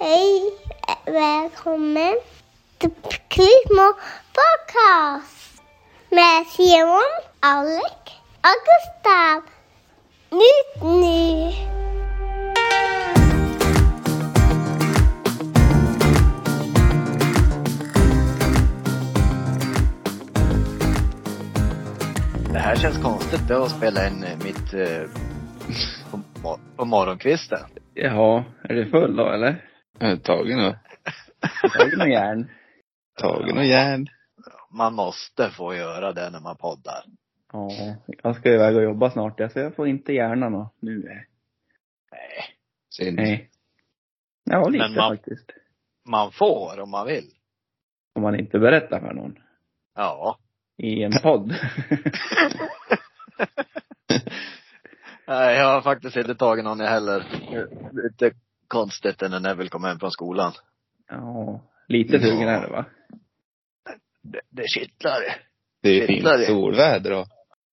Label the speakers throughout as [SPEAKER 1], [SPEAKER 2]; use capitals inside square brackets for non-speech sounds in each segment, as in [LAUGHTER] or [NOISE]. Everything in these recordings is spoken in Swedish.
[SPEAKER 1] Hej, välkommen till Kvittmo Podcast med Simon, Alec och Gustav. Nytt nu!
[SPEAKER 2] Det här känns konstigt det att spela in eh, mitt eh, på, mor- på morgonkvisten.
[SPEAKER 3] Jaha, är du full då eller?
[SPEAKER 4] Eh, Tagen och,
[SPEAKER 3] Har du något järn?
[SPEAKER 4] tagen och järn.
[SPEAKER 2] Man måste få göra det när man poddar.
[SPEAKER 3] Ja, jag ska iväg och jobba snart ja, så jag får inte hjärnan då. nu.
[SPEAKER 4] Mm.
[SPEAKER 3] eh.
[SPEAKER 4] Synd.
[SPEAKER 3] Nej. Ja, lite
[SPEAKER 2] Men man-
[SPEAKER 3] faktiskt.
[SPEAKER 2] Man får om man vill.
[SPEAKER 3] Om man inte berättar för någon.
[SPEAKER 2] Ja.
[SPEAKER 3] I en podd. [LAUGHS]
[SPEAKER 2] Nej, jag har faktiskt inte tagit någon jag heller. Det är Lite konstigt när Neville kom hem från skolan.
[SPEAKER 3] ja, lite sugen är det va?
[SPEAKER 2] Det, det kittlar.
[SPEAKER 4] Det är ju
[SPEAKER 2] Kittlar det.
[SPEAKER 4] fint solväder då.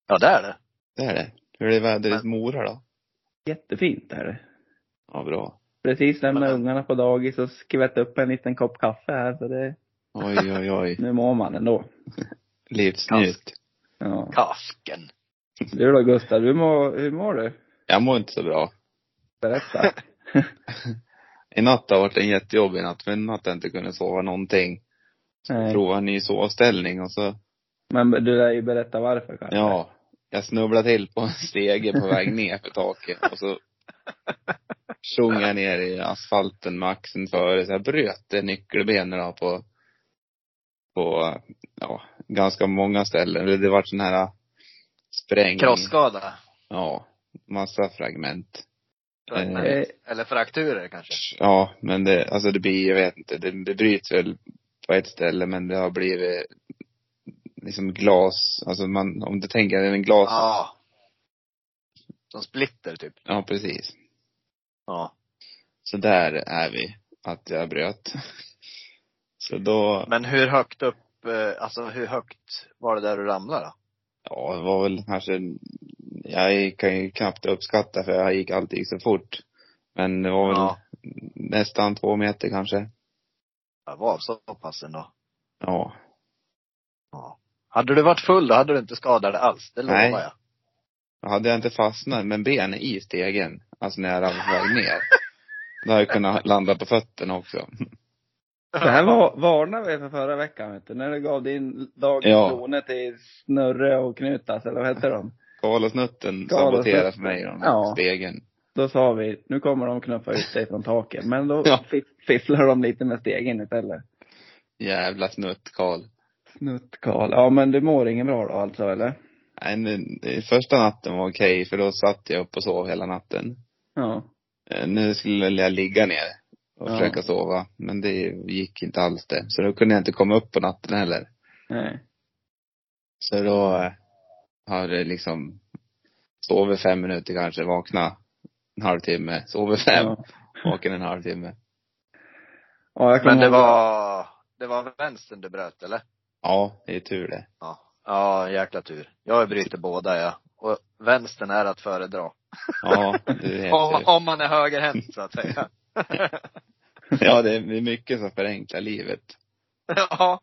[SPEAKER 2] Ja, det är det.
[SPEAKER 4] Det är det. Hur är vädret i Mora då?
[SPEAKER 3] Jättefint är det.
[SPEAKER 4] Ja, bra.
[SPEAKER 3] Precis lämnat
[SPEAKER 2] Men-
[SPEAKER 3] ungarna på dagis och skvätt upp en liten kopp kaffe här så det,
[SPEAKER 4] Oj, oj, oj. [LAUGHS]
[SPEAKER 3] nu mår man ändå.
[SPEAKER 4] Livsnjut.
[SPEAKER 3] Ja.
[SPEAKER 2] Kasken.
[SPEAKER 3] Du då Gustav, hur mår, hur mår du?
[SPEAKER 4] Jag mår inte så bra. [LAUGHS]
[SPEAKER 3] Berätta.
[SPEAKER 4] I natt har varit en jättejobbig natt. För i natt har jag inte kunnat sova någonting.
[SPEAKER 3] Nej.
[SPEAKER 4] Prova en ny sovställning och så,
[SPEAKER 3] Men du lär ju berätta varför kanske.
[SPEAKER 4] ja. Jag snubblade till på en stege på [LAUGHS] väg ner för taket och så tjongade jag ner i asfalten med axeln före. Så jag bröt det nyckelbenet då på, på, ja, ganska många ställen. Eller Det var sån här
[SPEAKER 3] Mm.
[SPEAKER 4] spräng.
[SPEAKER 2] Krossskada.
[SPEAKER 4] Ja, massa fragment.
[SPEAKER 2] Fragment.
[SPEAKER 3] Eh,
[SPEAKER 2] Eller frakturer kanske.
[SPEAKER 4] Ja, men det, alltså det blir, jag vet inte, det, det bryts väl på ett ställe men det har blivit liksom glas, alltså man, om du tänker dig en glas,
[SPEAKER 2] Ja.
[SPEAKER 4] ja,
[SPEAKER 2] Som splitter typ.
[SPEAKER 4] precis.
[SPEAKER 2] Ja.
[SPEAKER 4] Så där är vi, att jag bröt. [LAUGHS] Så då,
[SPEAKER 2] Men hur högt upp, eh, alltså hur högt var det där du ramlade då?
[SPEAKER 4] ja det var väl kanske, jag kan ju knappt uppskatta för jag gick alltid så fort. Men det var väl
[SPEAKER 2] Ja.
[SPEAKER 4] nästan två meter kanske.
[SPEAKER 2] Det var så pass ändå.
[SPEAKER 4] Ja.
[SPEAKER 2] Hade du varit full då hade du inte skadat dig alls, det
[SPEAKER 4] Nej.
[SPEAKER 2] lovar jag.
[SPEAKER 4] Hade jag inte fastnat med benen i stegen, alltså när jag ramlade på väg ner, då hade jag kunnat landa på fötterna också.
[SPEAKER 3] Det här var, varnade vi för förra veckan vet du, när du gav din dagens
[SPEAKER 4] Ja.
[SPEAKER 3] krone till Snurre och Knutas, eller vad hette de? Galasnutten.
[SPEAKER 4] Galasnutten saboterade för mig de där
[SPEAKER 3] Ja.
[SPEAKER 4] stegen.
[SPEAKER 3] Då sa vi, nu kommer de knuffa ut dig från taket. Men då
[SPEAKER 4] Ja.
[SPEAKER 3] fiff- fifflar de lite med stegen istället.
[SPEAKER 4] Jävla snutt, Karl.
[SPEAKER 3] Snutt Karl. Ja men du mår ingen bra då alltså eller?
[SPEAKER 4] Nej, nu- Första natten var okej, för då satt jag upp och sov hela natten.
[SPEAKER 3] Ja.
[SPEAKER 4] Eh, Nu skulle jag ligga ner och
[SPEAKER 3] Ja.
[SPEAKER 4] försöka sova, men det gick inte alls det. Så då kunde jag inte komma upp på natten heller.
[SPEAKER 3] Nej.
[SPEAKER 4] Så då eh, har det liksom sovit fem minuter kanske, vakna en halvtimme, sover fem.
[SPEAKER 3] Ja.
[SPEAKER 4] Vaken en halvtimme.
[SPEAKER 3] ja jag
[SPEAKER 2] Men det
[SPEAKER 3] ihåg-
[SPEAKER 2] var, det var vänstern du bröt eller?
[SPEAKER 4] Ja, det är tur det.
[SPEAKER 2] Ja. Ja, jäkla tur. Jag bryter båda jag. Och vänstern är att föredra.
[SPEAKER 4] Ja, du vet
[SPEAKER 2] Om,
[SPEAKER 4] ju.
[SPEAKER 2] om man är högerhänt så att [LAUGHS] säga.
[SPEAKER 4] Ja, det är det är mycket som förenklar livet.
[SPEAKER 2] ja.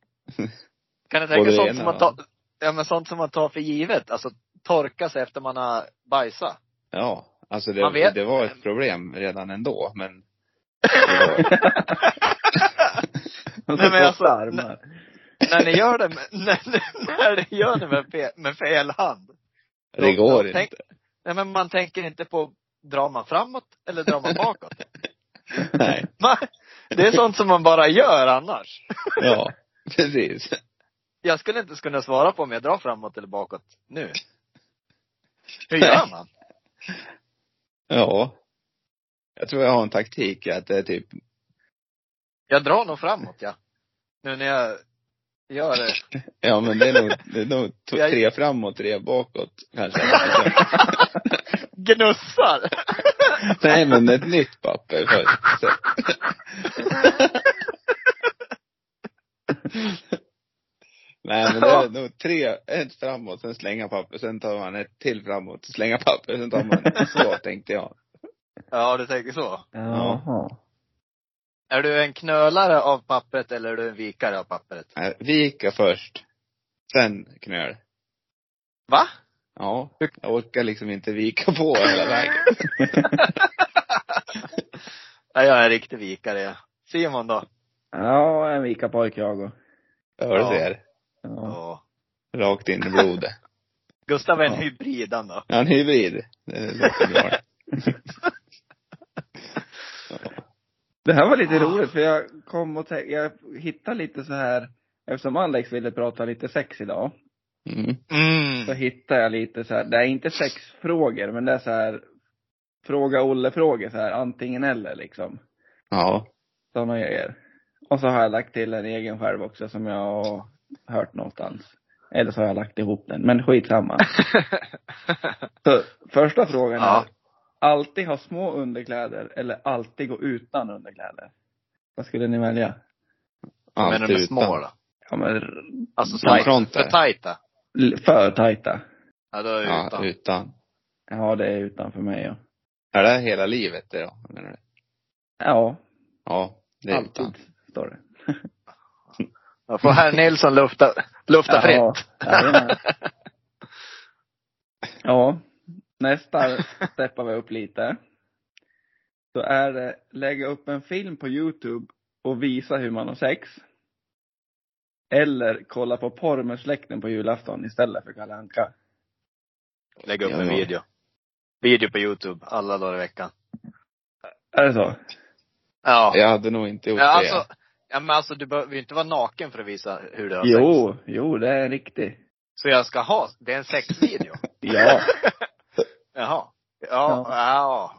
[SPEAKER 2] Kan ni tänka
[SPEAKER 4] Både
[SPEAKER 2] sånt
[SPEAKER 4] ena,
[SPEAKER 2] som man
[SPEAKER 4] va?
[SPEAKER 2] tar, ja men sånt som man tar för givet. Alltså torka sig efter man har bajsat.
[SPEAKER 4] Ja, alltså
[SPEAKER 2] Man
[SPEAKER 4] det,
[SPEAKER 2] vet.
[SPEAKER 4] det var ett problem redan ändå, men det var,
[SPEAKER 3] Och så
[SPEAKER 2] [LAUGHS] Nej, men
[SPEAKER 4] typ
[SPEAKER 2] alltså,
[SPEAKER 3] korta armar.
[SPEAKER 2] när ni gör det med, [LAUGHS] när, när ni gör det med, fel, med fel hand.
[SPEAKER 4] det går
[SPEAKER 2] Tänk-
[SPEAKER 4] inte.
[SPEAKER 2] Nej men man tänker inte på, drar man framåt eller drar man bakåt? [LAUGHS]
[SPEAKER 4] Nej,
[SPEAKER 2] Va? Det är sånt som man bara gör annars.
[SPEAKER 4] ja, precis.
[SPEAKER 2] Jag skulle inte kunna svara på om jag drar framåt eller bakåt nu. Hur gör man?
[SPEAKER 4] Ja. Jag tror jag har en taktik att det är typ,
[SPEAKER 2] Jag drar nog framåt, ja. Nu när jag gör det.
[SPEAKER 4] ja men det är nog, det är nog t-
[SPEAKER 2] Jag-
[SPEAKER 4] tre framåt, tre bakåt kanske.
[SPEAKER 2] [LAUGHS] Gnussar!
[SPEAKER 4] Nej men ett nytt papper först. Så- Nej men
[SPEAKER 2] [LAUGHS]
[SPEAKER 4] det är nog tre, ett framåt, sen slänga papper, sen tar man ett till framåt, slänga papper,
[SPEAKER 2] [LAUGHS]
[SPEAKER 4] sen tar man, så tänkte jag.
[SPEAKER 2] Ja, du tänker så.
[SPEAKER 3] Jaha.
[SPEAKER 2] Är du en knölare av pappret eller är du en vikare av pappret?
[SPEAKER 4] Nej, Vika först. Sen knöl.
[SPEAKER 2] Va?
[SPEAKER 4] Ja. Jag orkar liksom inte vika på hela vägen.
[SPEAKER 2] Ja, jag är en riktig vikare jag. Simon då?
[SPEAKER 3] Ja, en vikapojk jag och.
[SPEAKER 4] Ja, du
[SPEAKER 2] Ja.
[SPEAKER 4] ser.
[SPEAKER 3] Ja.
[SPEAKER 2] Ja.
[SPEAKER 4] Rakt in i blodet.
[SPEAKER 2] Gustav är en
[SPEAKER 3] Ja.
[SPEAKER 2] hybrid han då.
[SPEAKER 4] Ja, en hybrid. Det låter bra.
[SPEAKER 3] Det här var lite
[SPEAKER 2] Ah.
[SPEAKER 3] roligt för jag kom och tänk, jag hittade lite så här, eftersom Alex ville prata lite sex idag,
[SPEAKER 4] Mm.
[SPEAKER 3] så
[SPEAKER 2] Mm.
[SPEAKER 3] hittade jag lite så här, det är inte sexfrågor men det är så här, fråga Olle-frågor så här, antingen eller liksom.
[SPEAKER 4] Ja.
[SPEAKER 3] Sådana grejer. Och så har jag lagt till en egen själv också som jag har hört någonstans. Eller så har jag lagt ihop den, men skitsamma.
[SPEAKER 2] [LAUGHS]
[SPEAKER 3] Så första frågan
[SPEAKER 2] Ja.
[SPEAKER 3] är, alltid ha små underkläder eller alltid gå utan underkläder? Vad skulle ni välja?
[SPEAKER 2] Vad menar du med
[SPEAKER 4] utan.
[SPEAKER 2] små då?
[SPEAKER 3] Ja men,
[SPEAKER 2] Alltså
[SPEAKER 4] Ja,
[SPEAKER 2] tajta.
[SPEAKER 4] front
[SPEAKER 2] för
[SPEAKER 4] där.
[SPEAKER 2] tajta?
[SPEAKER 3] l- för tajta.
[SPEAKER 2] Ja, då är jag
[SPEAKER 4] Ja,
[SPEAKER 2] utan.
[SPEAKER 4] utan.
[SPEAKER 3] Ja det är utan för mig ja.
[SPEAKER 4] Är det hela livet det då? Menar du?
[SPEAKER 3] Ja,
[SPEAKER 4] Ja, det är
[SPEAKER 3] alltid
[SPEAKER 4] utan.
[SPEAKER 3] står det.
[SPEAKER 2] Då får herr Nilsson lufta, lufta
[SPEAKER 3] Ja,
[SPEAKER 2] fritt.
[SPEAKER 3] jajamän. ja, nästa steppar vi upp lite. Så är det lägga upp en film på Youtube och visa hur man har sex. Eller kolla på porr med släkten på julafton istället för Kalle Anka.
[SPEAKER 2] Lägg upp
[SPEAKER 4] Ja,
[SPEAKER 2] en
[SPEAKER 4] ja.
[SPEAKER 2] video. Video på Youtube alla dagar i veckan.
[SPEAKER 3] Är det så?
[SPEAKER 2] Ja.
[SPEAKER 4] Jag hade nog inte gjort
[SPEAKER 2] Ja,
[SPEAKER 4] det.
[SPEAKER 2] alltså, ja, men alltså du behöver ju inte vara naken för att visa hur du har sex.
[SPEAKER 3] Jo, jo det är riktigt.
[SPEAKER 2] Så jag ska ha, det är en
[SPEAKER 3] [LAUGHS]
[SPEAKER 2] sexvideo?
[SPEAKER 3] Ja.
[SPEAKER 2] Jaha. Ja,
[SPEAKER 3] Ja.
[SPEAKER 2] ja.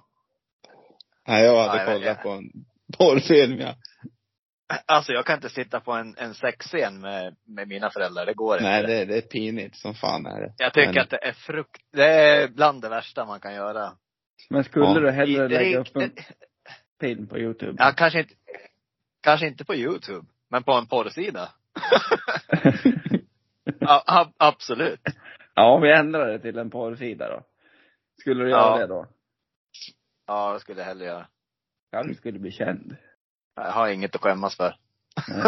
[SPEAKER 4] Nej, jag hade
[SPEAKER 2] Nej, men-
[SPEAKER 4] kollat på en porrfilm ja.
[SPEAKER 2] Alltså jag kan inte sitta på en, en sexscen med, med mina föräldrar, det går
[SPEAKER 4] [LAUGHS] Nej,
[SPEAKER 2] inte.
[SPEAKER 4] det, det är pinigt som fan är det.
[SPEAKER 2] Jag tycker
[SPEAKER 4] Men-
[SPEAKER 2] att det är frukt, det är bland det värsta man kan göra.
[SPEAKER 3] Men skulle
[SPEAKER 4] Ja.
[SPEAKER 3] du hellre
[SPEAKER 2] I-
[SPEAKER 3] lägga upp en
[SPEAKER 2] rikt-
[SPEAKER 3] film på Youtube?
[SPEAKER 2] Ja, kanske inte, kanske inte på Youtube, men på en porrsida. Ja, ab- absolut.
[SPEAKER 3] [LAUGHS] ja, vi ändrar det till en porrsida då. Skulle du göra
[SPEAKER 2] Ja.
[SPEAKER 3] det då?
[SPEAKER 2] Ja, det skulle jag hellre göra.
[SPEAKER 3] Ja, du skulle
[SPEAKER 2] [LAUGHS]
[SPEAKER 3] bli känd.
[SPEAKER 2] Jag har inget att skämmas för.
[SPEAKER 3] Nej.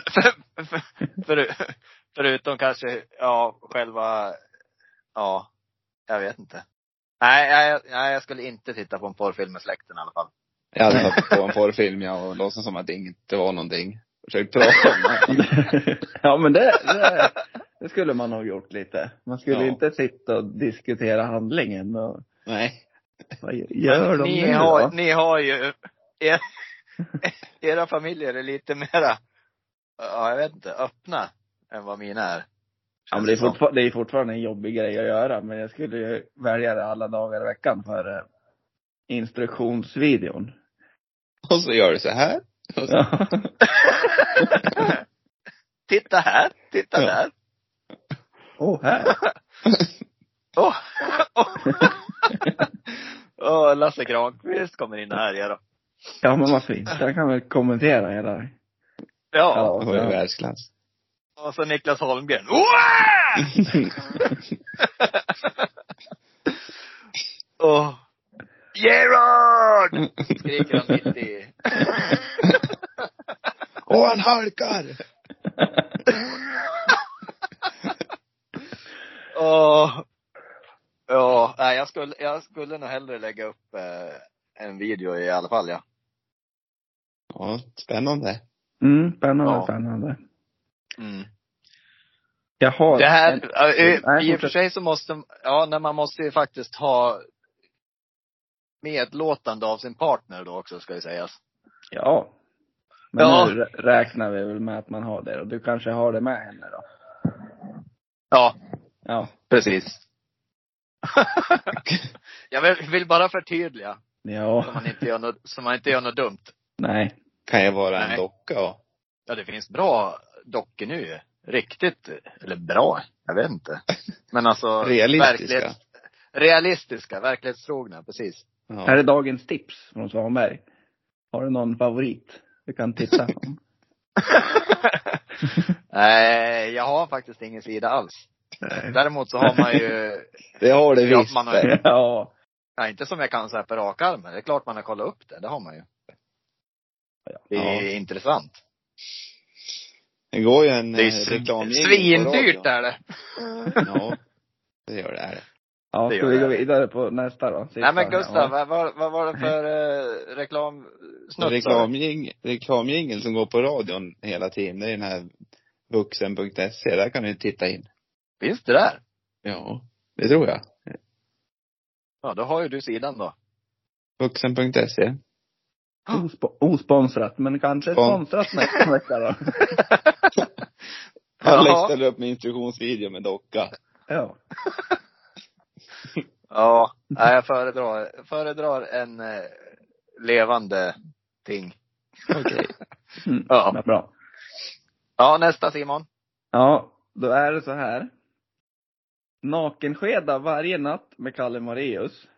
[SPEAKER 2] [LAUGHS] för, för, för, förutom kanske, ja, själva, ja, jag vet inte. Nej, jag, nej, jag skulle inte titta på en porrfilm med släkten i alla fall.
[SPEAKER 4] Jag hade satt på en porrfilm ja och låtsas som att det inte var någonting. Försökt prata om det.
[SPEAKER 2] [LAUGHS]
[SPEAKER 3] ja men det, det, det skulle man nog gjort lite. Man skulle
[SPEAKER 4] Ja.
[SPEAKER 3] inte sitta och diskutera handlingen och
[SPEAKER 4] Nej.
[SPEAKER 3] vad gör de
[SPEAKER 2] ni,
[SPEAKER 3] nu
[SPEAKER 2] har,
[SPEAKER 3] då?
[SPEAKER 2] ni har ju, er, [LAUGHS] era familjer är lite mera, ja, jag vet inte, öppna än vad mina är. [LAUGHS]
[SPEAKER 3] Ja, men det, är fortfar- det är fortfarande en jobbig grej att göra men jag skulle ju välja det alla dagar i veckan för eh, instruktionsvideon.
[SPEAKER 4] [LAUGHS] Och så gör du så här. Och så,
[SPEAKER 3] Ja.
[SPEAKER 2] titta här, titta
[SPEAKER 4] Ja.
[SPEAKER 2] där.
[SPEAKER 3] [LAUGHS] Åh, här.
[SPEAKER 2] Åh! [LAUGHS] Åh, Åh, Lasse Granqvist kommer in här ja då.
[SPEAKER 3] Ja men vad fint. Jag kan väl kommentera hela.
[SPEAKER 2] Ja.
[SPEAKER 4] och så är det
[SPEAKER 2] [LAUGHS]
[SPEAKER 4] världsklass.
[SPEAKER 2] Och så Niklas Holmgren. Wow! Åh. Gerard! Skriker han mitt i.
[SPEAKER 4] och han halkar!
[SPEAKER 2] Åh. Ja, nej jag skulle, jag skulle nog hellre lägga upp eh, en video i alla fall ja.
[SPEAKER 4] Ja, spännande.
[SPEAKER 3] Mm, spännande,
[SPEAKER 2] Ja.
[SPEAKER 3] spännande.
[SPEAKER 2] Mm.
[SPEAKER 3] Jag har
[SPEAKER 2] Det här,
[SPEAKER 3] en-
[SPEAKER 2] eh, eh,
[SPEAKER 3] Nej,
[SPEAKER 2] i och för
[SPEAKER 3] fortsätt.
[SPEAKER 2] sig så måste, ja när man måste ju faktiskt ha medlåtande av sin partner då också ska ju sägas.
[SPEAKER 3] Ja. Men
[SPEAKER 2] Ja.
[SPEAKER 3] nu rä- räknar vi väl med att man har det och du kanske har det med henne då?
[SPEAKER 2] Ja,
[SPEAKER 3] Ja.
[SPEAKER 2] precis. [LAUGHS] jag vill, vill bara förtydliga, så
[SPEAKER 3] Ja.
[SPEAKER 2] man inte gör något, så man inte gör något dumt.
[SPEAKER 3] Nej.
[SPEAKER 4] Kan jag vara en
[SPEAKER 2] Nej.
[SPEAKER 4] docka och
[SPEAKER 2] Ja, det finns bra dockor nu ju. Riktigt, eller bra, jag vet inte. Men alltså,
[SPEAKER 4] [LAUGHS] Realistiska.
[SPEAKER 2] verklighets- realistiska, verklighetstrogna, precis. [LAUGHS]
[SPEAKER 3] Här
[SPEAKER 4] Ja.
[SPEAKER 3] är dagens tips från Svanberg. Har du någon favorit du kan tipsa
[SPEAKER 2] [LAUGHS]
[SPEAKER 3] om? [LAUGHS]
[SPEAKER 2] Nej, jag har faktiskt ingen sida alls. Däremot så har man
[SPEAKER 4] [LAUGHS]
[SPEAKER 2] ju,
[SPEAKER 4] Det har det
[SPEAKER 2] Ja,
[SPEAKER 4] visst.
[SPEAKER 2] man har-
[SPEAKER 4] det.
[SPEAKER 3] ja.
[SPEAKER 2] ja, inte som jag kan så här på rak arm, men det är klart man har kollat upp det, det har man ju. Det är
[SPEAKER 4] Ja.
[SPEAKER 2] intressant.
[SPEAKER 4] Det går ju en
[SPEAKER 2] Det är
[SPEAKER 4] eh,
[SPEAKER 2] svin-
[SPEAKER 4] reklamjingel på
[SPEAKER 2] svindyrt
[SPEAKER 4] radion.
[SPEAKER 2] är det.
[SPEAKER 4] Ja. Det gör det. Är det.
[SPEAKER 3] Ja,
[SPEAKER 2] Det
[SPEAKER 3] ska
[SPEAKER 2] gör
[SPEAKER 3] vi
[SPEAKER 2] jag.
[SPEAKER 3] gå vidare på nästa då? Sista
[SPEAKER 2] Nej men
[SPEAKER 3] här,
[SPEAKER 2] Gustav,
[SPEAKER 3] va?
[SPEAKER 2] vad, vad, vad var det för eh, reklamsnutt?
[SPEAKER 4] Reklamjing, reklamjingeln som går på radion hela tiden, det är den här vuxen.se. E. Där kan du titta in.
[SPEAKER 2] Finns det där?
[SPEAKER 4] Ja, det tror jag.
[SPEAKER 2] Ja, då har ju du sidan då.
[SPEAKER 4] Vuxen.se.
[SPEAKER 3] Ospo- osponsrat, men kanske
[SPEAKER 4] Spon-
[SPEAKER 3] sponsrat nästa
[SPEAKER 2] [LAUGHS]
[SPEAKER 3] vecka då.
[SPEAKER 4] Alex ställer upp med instruktionsvideo med docka.
[SPEAKER 3] Ja.
[SPEAKER 2] Ja, nej, jag föredrar, föredrar en eh, levande ting.
[SPEAKER 4] Okej.
[SPEAKER 3] Mm.
[SPEAKER 2] [LAUGHS] Ja.
[SPEAKER 3] ja. Bra.
[SPEAKER 2] Ja, nästa Simon.
[SPEAKER 3] Ja, då är det så här. Nakenskeda varje natt med Kalle [LAUGHS] Moraeus.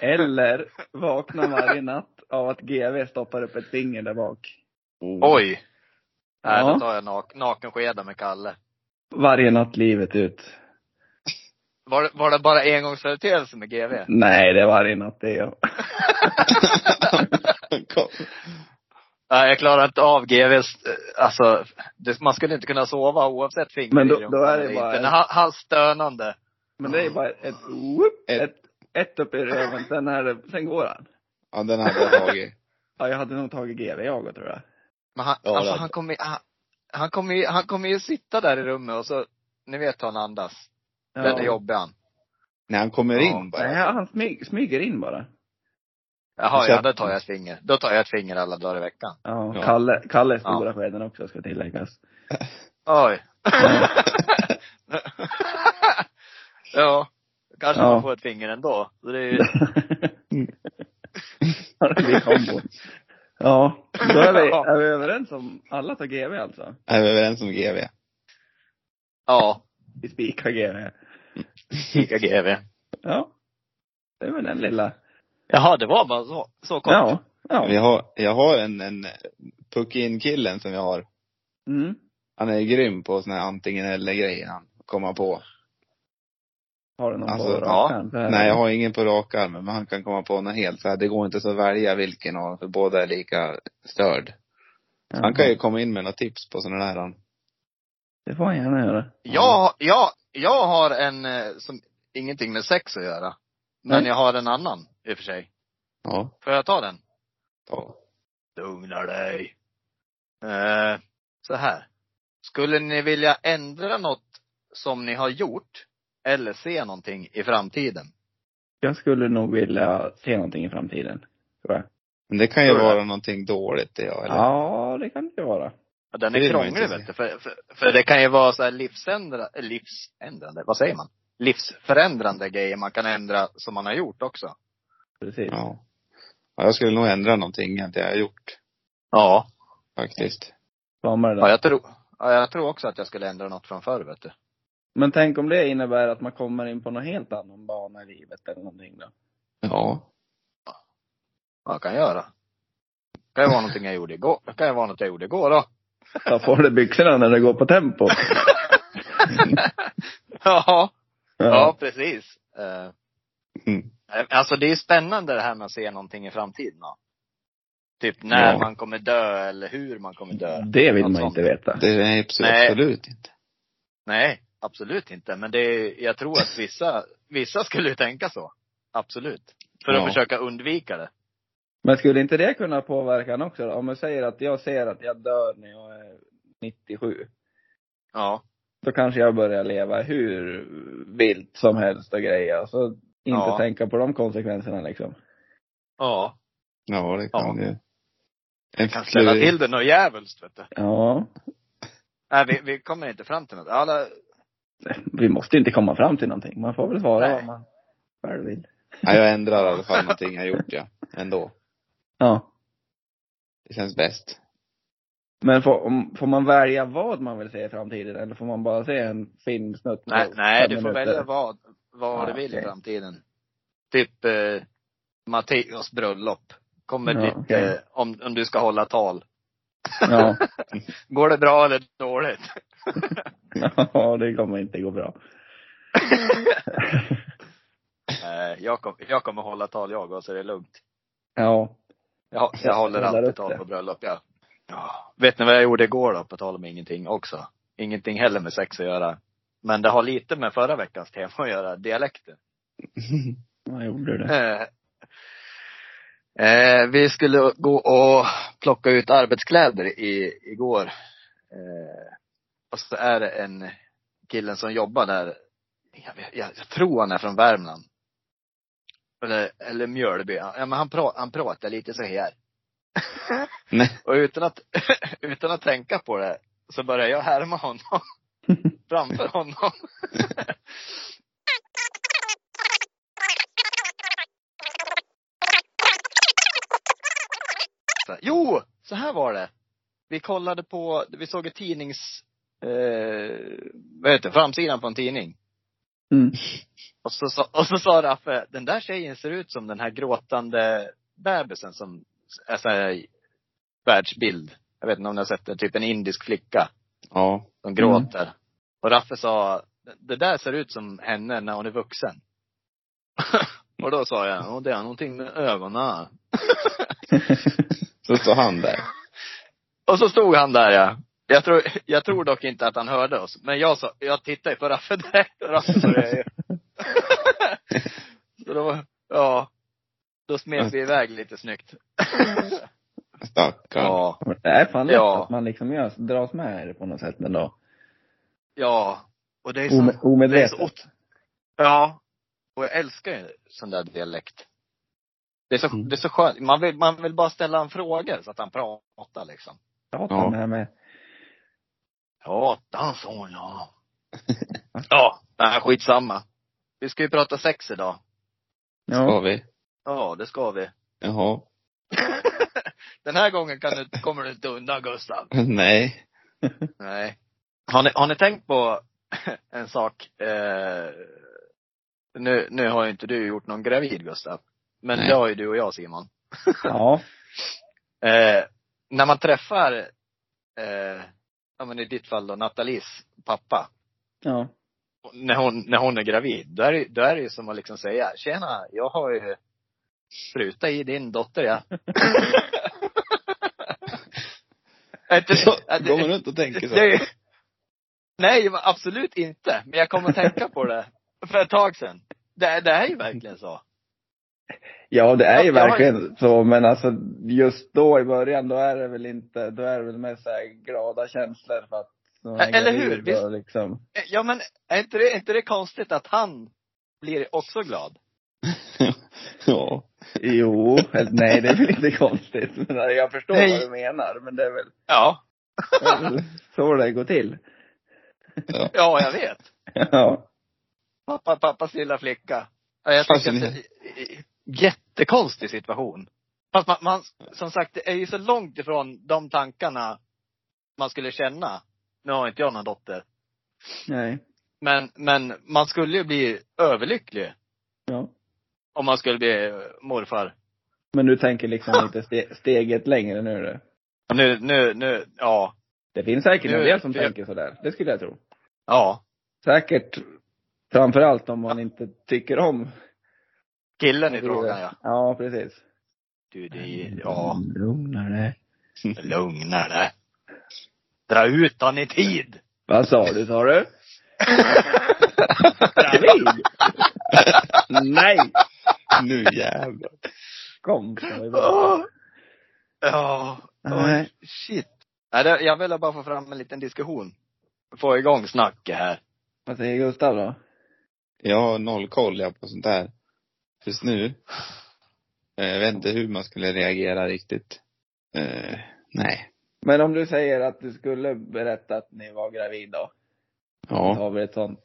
[SPEAKER 3] Eller vakna varje natt av att GV stoppar upp ett finger där bak.
[SPEAKER 4] [LAUGHS]
[SPEAKER 2] Oj! Nej,
[SPEAKER 3] Ja.
[SPEAKER 2] då tar jag nak nakenskeda med Kalle.
[SPEAKER 3] Varje natt livet ut.
[SPEAKER 2] Var, det- var det bara engångsföreteelse med GV?
[SPEAKER 3] Nej, det är varje natt det är jag.
[SPEAKER 4] Kom.
[SPEAKER 2] Nej, jag klarar inte av GVs, eh, alltså, det, man skulle inte kunna sova oavsett finger
[SPEAKER 3] Men då-
[SPEAKER 2] i rumpan
[SPEAKER 3] då är det
[SPEAKER 2] eller
[SPEAKER 3] bara-
[SPEAKER 2] inte. Men han- Hans stönande.
[SPEAKER 3] Men det är bara ett, [LAUGHS] whoop, ett, ett, upp i röven, sen, är det, sen går han.
[SPEAKER 4] Ja, den hade jag tagit.
[SPEAKER 3] Ja, jag hade nog tagit GV jag tror jag.
[SPEAKER 2] Men han,
[SPEAKER 4] Ja,
[SPEAKER 2] alltså
[SPEAKER 4] det-
[SPEAKER 2] han kommer, han, han kommer ju, han kommer ju sitta där i rummet och så, ni vet hur han andas.
[SPEAKER 3] Ja.
[SPEAKER 2] Den är jobbig han.
[SPEAKER 4] När han kommer in bara.
[SPEAKER 3] Nej, han smyg, smyger in bara.
[SPEAKER 2] Jaha,
[SPEAKER 4] Så-
[SPEAKER 2] ja, då tar jag ett finger. Då tar jag ett finger alla dagar i veckan.
[SPEAKER 3] Ja,
[SPEAKER 4] Ja.
[SPEAKER 3] Kalle, Kalle är
[SPEAKER 2] Ja.
[SPEAKER 3] stora skeden också ska tilläggas.
[SPEAKER 2] Oj. [LAUGHS] ja. Kanske
[SPEAKER 3] Ja.
[SPEAKER 2] man får ett finger ändå. Så det är
[SPEAKER 3] [LAUGHS]
[SPEAKER 2] ju,
[SPEAKER 3] Mm. Ja, det blir kombo. Ja, då är vi, är vi överens om alla tar GV alltså?
[SPEAKER 4] Är vi överens om GV?
[SPEAKER 2] ja.
[SPEAKER 3] Vi spikar GV.
[SPEAKER 2] Kika GV.
[SPEAKER 3] Ja. Det är väl den lilla.
[SPEAKER 2] Jaha, det var bara så, så kort.
[SPEAKER 3] Ja.
[SPEAKER 4] Jag
[SPEAKER 3] Ja.
[SPEAKER 4] har, jag har en, en puck-in-killen som jag har.
[SPEAKER 3] Mm.
[SPEAKER 4] Han är grym på såna här antingen eller grejer han kommer på.
[SPEAKER 3] Har du någon
[SPEAKER 4] Alltså,
[SPEAKER 3] på rak
[SPEAKER 4] ja.
[SPEAKER 3] arm? Så här.
[SPEAKER 4] Nej, jag har ingen på rak arm, men han kan komma på något helt så här. Det går inte så att välja vilken av dem, för båda är lika störd.
[SPEAKER 3] Ja.
[SPEAKER 4] Han kan ju komma in med några tips på sådana där. han.
[SPEAKER 3] Det får han gärna göra.
[SPEAKER 2] Jag, jag, jag har en eh, som ingenting med sex att göra. Men
[SPEAKER 3] Nej.
[SPEAKER 2] jag har en annan i och för sig.
[SPEAKER 4] Ja.
[SPEAKER 2] Får jag ta den?
[SPEAKER 4] ja.
[SPEAKER 2] Lugna dig. Eh, så här. Skulle ni vilja ändra något som ni har gjort eller se någonting i framtiden?
[SPEAKER 3] Jag skulle nog vilja se någonting i framtiden. Tror jag.
[SPEAKER 4] Men det kan ju
[SPEAKER 2] Tror du
[SPEAKER 4] vara
[SPEAKER 2] det?
[SPEAKER 4] någonting dåligt det, ja, eller?
[SPEAKER 3] Ja, det kan det ju vara.
[SPEAKER 2] Ja, Den
[SPEAKER 4] Det
[SPEAKER 2] är
[SPEAKER 4] vill man ju
[SPEAKER 2] krånglig
[SPEAKER 4] inte
[SPEAKER 2] vet du. För, för, för det kan ju vara så här livsändrande, livsändrande, vad säger man? Livsförändrande grejer man kan ändra som man har gjort också.
[SPEAKER 3] Precis.
[SPEAKER 4] ja. Ja, jag skulle nog ändra någonting att jag har gjort,
[SPEAKER 2] Ja.
[SPEAKER 4] faktiskt.
[SPEAKER 3] Kramar det
[SPEAKER 2] Ja,
[SPEAKER 3] där.
[SPEAKER 2] jag tror, ja, jag tror också att jag skulle ändra något från förr vet du.
[SPEAKER 3] Men tänk om det innebär att man kommer in på någon helt annan bana i livet eller någonting då.
[SPEAKER 4] Ja.
[SPEAKER 2] Vad jag kan göra. Det kan ju vara någonting jag gjorde igår. Det kan ju vara något jag gjorde igår då.
[SPEAKER 3] Ta på dig byxorna när du går på tempo.
[SPEAKER 2] [LAUGHS] ja. Ja, precis. Eh,
[SPEAKER 4] Mm.
[SPEAKER 2] Alltså det är spännande det här med att se någonting i framtiden. Ja. Typ när
[SPEAKER 4] Ja.
[SPEAKER 2] man kommer dö eller hur man kommer dö.
[SPEAKER 3] Det vill
[SPEAKER 2] Något
[SPEAKER 3] man
[SPEAKER 2] sånt.
[SPEAKER 3] inte veta.
[SPEAKER 4] Det är absolut,
[SPEAKER 2] Nej.
[SPEAKER 4] absolut inte.
[SPEAKER 2] Nej, absolut inte. Men det är, jag tror att vissa, vissa skulle ju tänka så. Absolut. För att
[SPEAKER 4] Ja.
[SPEAKER 2] försöka undvika det.
[SPEAKER 3] Men skulle inte det kunna påverka en också då? Om jag säger att jag ser att jag dör när jag är 97.
[SPEAKER 2] Ja.
[SPEAKER 3] Då kanske jag börjar leva hur vilt som helst och grejer. Så inte
[SPEAKER 2] Ja.
[SPEAKER 3] tänka på de konsekvenserna liksom.
[SPEAKER 2] Ja.
[SPEAKER 4] Ja, det
[SPEAKER 2] Ja.
[SPEAKER 4] kan ju. En
[SPEAKER 2] Kan ställa till det något djävulskt vet du.
[SPEAKER 3] Ja.
[SPEAKER 2] Nej, vi, vi kommer inte fram till något. Alla,
[SPEAKER 3] Vi måste inte komma fram till någonting. Man får väl svara
[SPEAKER 2] Nej.
[SPEAKER 3] vad man själv vill.
[SPEAKER 4] Ja, jag ändrar i alla fall någonting jag gjort, ja. Ändå.
[SPEAKER 3] Ja.
[SPEAKER 4] Det känns bäst.
[SPEAKER 3] Men får, om, får man välja vad man vill se i framtiden? Eller får man bara se en filmsnutt på
[SPEAKER 2] nej, nej
[SPEAKER 3] fem
[SPEAKER 2] du får
[SPEAKER 3] minuter?
[SPEAKER 2] välja vad, vad du
[SPEAKER 3] Ja,
[SPEAKER 2] vill
[SPEAKER 3] okej.
[SPEAKER 2] i framtiden. Typ eh, Matteos bröllop. Kommer
[SPEAKER 3] Ja,
[SPEAKER 2] ditt,
[SPEAKER 3] okej.
[SPEAKER 2] eh, om, om du ska hålla tal.
[SPEAKER 3] Ja. [LAUGHS]
[SPEAKER 2] Går det bra eller dåligt? [LAUGHS]
[SPEAKER 3] ja, det kommer inte gå bra.
[SPEAKER 2] Eh, jag, kom, jag kommer hålla tal jag och så är det lugnt.
[SPEAKER 3] Ja.
[SPEAKER 2] Jag, jag håller
[SPEAKER 3] Jag håller
[SPEAKER 2] alltid
[SPEAKER 3] upp
[SPEAKER 2] tal
[SPEAKER 3] det.
[SPEAKER 2] på bröllop, ja. ja. Vet ni vad jag gjorde igår då, på tal om ingenting också? Ingenting heller med sex att göra. Men det har lite med förra veckans tema att göra, dialekter.
[SPEAKER 3] Vad gjorde [LAUGHS] du det?
[SPEAKER 2] Eh, eh, vi skulle gå och plocka ut arbetskläder i, igår. Eh, och så är det en killen som jobbar där. Jag, vet- jag, jag tror han är från Värmland. Eller, eller Mjölby. Ja, men han, pra, han pratar lite så
[SPEAKER 3] [LAUGHS]
[SPEAKER 2] här.
[SPEAKER 4] Nej.
[SPEAKER 2] Och utan att, [LAUGHS] utan att tänka på det så börjar jag härma
[SPEAKER 3] [LAUGHS]
[SPEAKER 2] honom. Framför honom. Så här, Alltså, jo, så här var det. Vi kollade på, vi såg ett tidnings, eh, vad heter det, framsidan på en tidning.
[SPEAKER 3] Mm.
[SPEAKER 2] Och så, sa- och så sa Raffe, den där tjejen ser ut som den här gråtande bebisen som är så här, världsbild. Jag vet inte om ni har sett det, typ en indisk flicka
[SPEAKER 4] Ja.
[SPEAKER 2] som gråter. Och Raffe sa, det där ser ut som henne när hon är vuxen. [LAUGHS] och då sa jag, "Ja, det är någonting med ögonen.
[SPEAKER 4] Så står han där.
[SPEAKER 2] [LAUGHS] Och så stod han där ja. Jag tror, jag tror dock inte att han hörde oss. Men jag sa, jag tittade ju på Raffe direkt och [LAUGHS] Raffe började ju. Så då, ja. Då smet vi iväg lite snyggt.
[SPEAKER 4] Stackarn.
[SPEAKER 2] Ja.
[SPEAKER 3] Men Det är fan lätt
[SPEAKER 2] Ja.
[SPEAKER 3] att man liksom gör, dras med i det på något sätt ändå.
[SPEAKER 2] Ja. Och det är så,
[SPEAKER 3] Ome,
[SPEAKER 2] det är så
[SPEAKER 3] omedvetet.
[SPEAKER 2] ot- Ja. Och jag älskar ju sån där dialekt. Det är så,
[SPEAKER 4] Mm.
[SPEAKER 2] det är så skönt. Man vill, man vill bara ställa en fråga så att han pratar liksom.
[SPEAKER 3] Prata
[SPEAKER 4] Ja.
[SPEAKER 3] det här med.
[SPEAKER 2] Prata han så [LAUGHS] ja. Ja, nej skitsamma. Vi ska ju prata sex idag.
[SPEAKER 4] Ska
[SPEAKER 3] Ja.
[SPEAKER 4] vi?
[SPEAKER 2] Ja, det ska vi.
[SPEAKER 4] Jaha.
[SPEAKER 2] [LAUGHS]
[SPEAKER 4] [LAUGHS]
[SPEAKER 2] Den här gången kan du, kommer du inte undan Gustav.
[SPEAKER 4] Nej.
[SPEAKER 2] Nej. Har ni, har ni tänkt på [LAUGHS] en sak? Eh, nu, nu har ju inte du gjort någon gravid Gustav. Men
[SPEAKER 4] Nej.
[SPEAKER 2] det har ju du och jag Simon.
[SPEAKER 3] ja.
[SPEAKER 2] Eh, när man träffar, eh, ja men i ditt fall då Nathalies pappa.
[SPEAKER 3] Ja.
[SPEAKER 2] När hon, när hon är gravid, då är, det- då är det ju som att liksom säga, tjena, jag har ju spruta i din dotter
[SPEAKER 4] [LAUGHS]
[SPEAKER 2] ja. Är inte-
[SPEAKER 4] Så
[SPEAKER 2] är-
[SPEAKER 4] går man runt och tänker så.
[SPEAKER 2] Det är- Nej, men absolut inte. Men jag kommer att tänka på det för ett tag sedan. Det, det är ju verkligen så.
[SPEAKER 3] Ja, det är ju
[SPEAKER 2] Ja, jag har-
[SPEAKER 3] verkligen så, men alltså just då i början, då är det väl inte, då är det väl mest så här glada känslor för att man är
[SPEAKER 2] Eller hur?
[SPEAKER 3] gravid
[SPEAKER 2] Visst-
[SPEAKER 3] och Liksom.
[SPEAKER 2] Ja, men är inte det, är inte det konstigt att han blir också glad?
[SPEAKER 4] ja.
[SPEAKER 3] Jo, eller nej det är väl inte konstigt. Men jag förstår
[SPEAKER 2] Nej.
[SPEAKER 3] vad du menar, men det är väl,
[SPEAKER 2] Ja.
[SPEAKER 3] det är väl så det går till.
[SPEAKER 4] ja.
[SPEAKER 2] Ja, jag vet.
[SPEAKER 3] Ja.
[SPEAKER 2] Pappa, pappas lilla flicka. Ja, jag tycker att det är jättekonstig situation. Fast man, man, som sagt, det är ju så långt ifrån de tankarna man skulle känna. Nu har inte jag någon dotter.
[SPEAKER 3] Nej.
[SPEAKER 2] Men, men man skulle ju bli överlycklig
[SPEAKER 3] Ja.
[SPEAKER 2] om man skulle bli eh, morfar.
[SPEAKER 3] Men du tänker liksom lite ste, steget längre nu du.
[SPEAKER 2] Ja, Nu, nu, nu, ja.
[SPEAKER 3] Det finns säkert
[SPEAKER 2] Nu-
[SPEAKER 3] en del som
[SPEAKER 2] jag-
[SPEAKER 3] tänker sådär. Det skulle jag tro.
[SPEAKER 2] Ja.
[SPEAKER 3] Säkert. Framförallt om man inte tycker om.
[SPEAKER 2] Killen i frågan ja.
[SPEAKER 3] Ja, precis.
[SPEAKER 2] Du, det, är- ja.
[SPEAKER 3] Lugna dig.
[SPEAKER 2] Lugna dig. Dra ut han i tid.
[SPEAKER 3] Vad sa du, sa du? Gravid? Nej!
[SPEAKER 4] Nu jävlar.
[SPEAKER 3] Kom, sa vi bara.
[SPEAKER 2] Åh. Ja. Oj,
[SPEAKER 3] Nej.
[SPEAKER 2] shit. Nej, det, jag ville bara få fram en liten diskussion. Få igång snacket här.
[SPEAKER 3] Vad säger Gustav då?
[SPEAKER 4] Jag har noll koll jag på sånt där. Just nu. Eh, Jag vet inte hur man skulle reagera riktigt. Eh, nej.
[SPEAKER 3] Men om du säger att du skulle berätta att ni var gravid då? Då
[SPEAKER 4] Ja.
[SPEAKER 3] har vi ett sånt.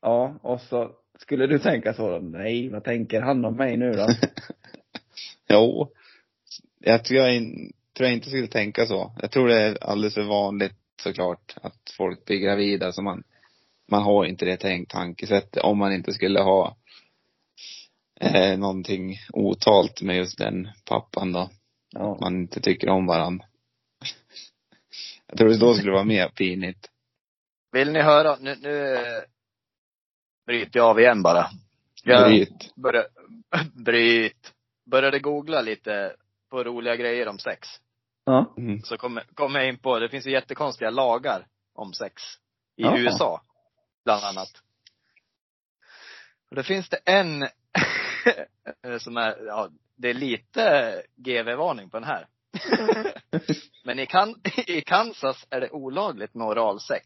[SPEAKER 3] Ja, och så skulle du tänka så då? Nej, vad tänker han om mig nu då?
[SPEAKER 4] [LAUGHS] Jo. Jag tror jag, in, tror jag inte skulle tänka så. Jag tror det är alldeles för vanligt såklart att folk blir gravida så man, man har inte det tänkt tankesättet om man inte skulle ha eh, någonting otalt med just den pappan då. Att
[SPEAKER 3] Ja.
[SPEAKER 4] man inte tycker om varandra. [LAUGHS] Jag tror det då skulle vara mer pinigt.
[SPEAKER 2] Vill ni höra? Nu, nu eh, bryter jag av igen bara. Jag
[SPEAKER 4] Bryt.
[SPEAKER 2] [LAUGHS] börjar, bryt. Började googla lite på roliga grejer om sex.
[SPEAKER 3] Ja.
[SPEAKER 4] Mm.
[SPEAKER 2] Så kom, kom jag in på, det finns ju jättekonstiga lagar om sex. I
[SPEAKER 3] Jaha.
[SPEAKER 2] USA. Bland annat. Och då finns det en [LAUGHS] eh, som är, ja, det är lite GV-varning på den här. [LAUGHS] Men i, kan, i Kansas är det olagligt med oralsex.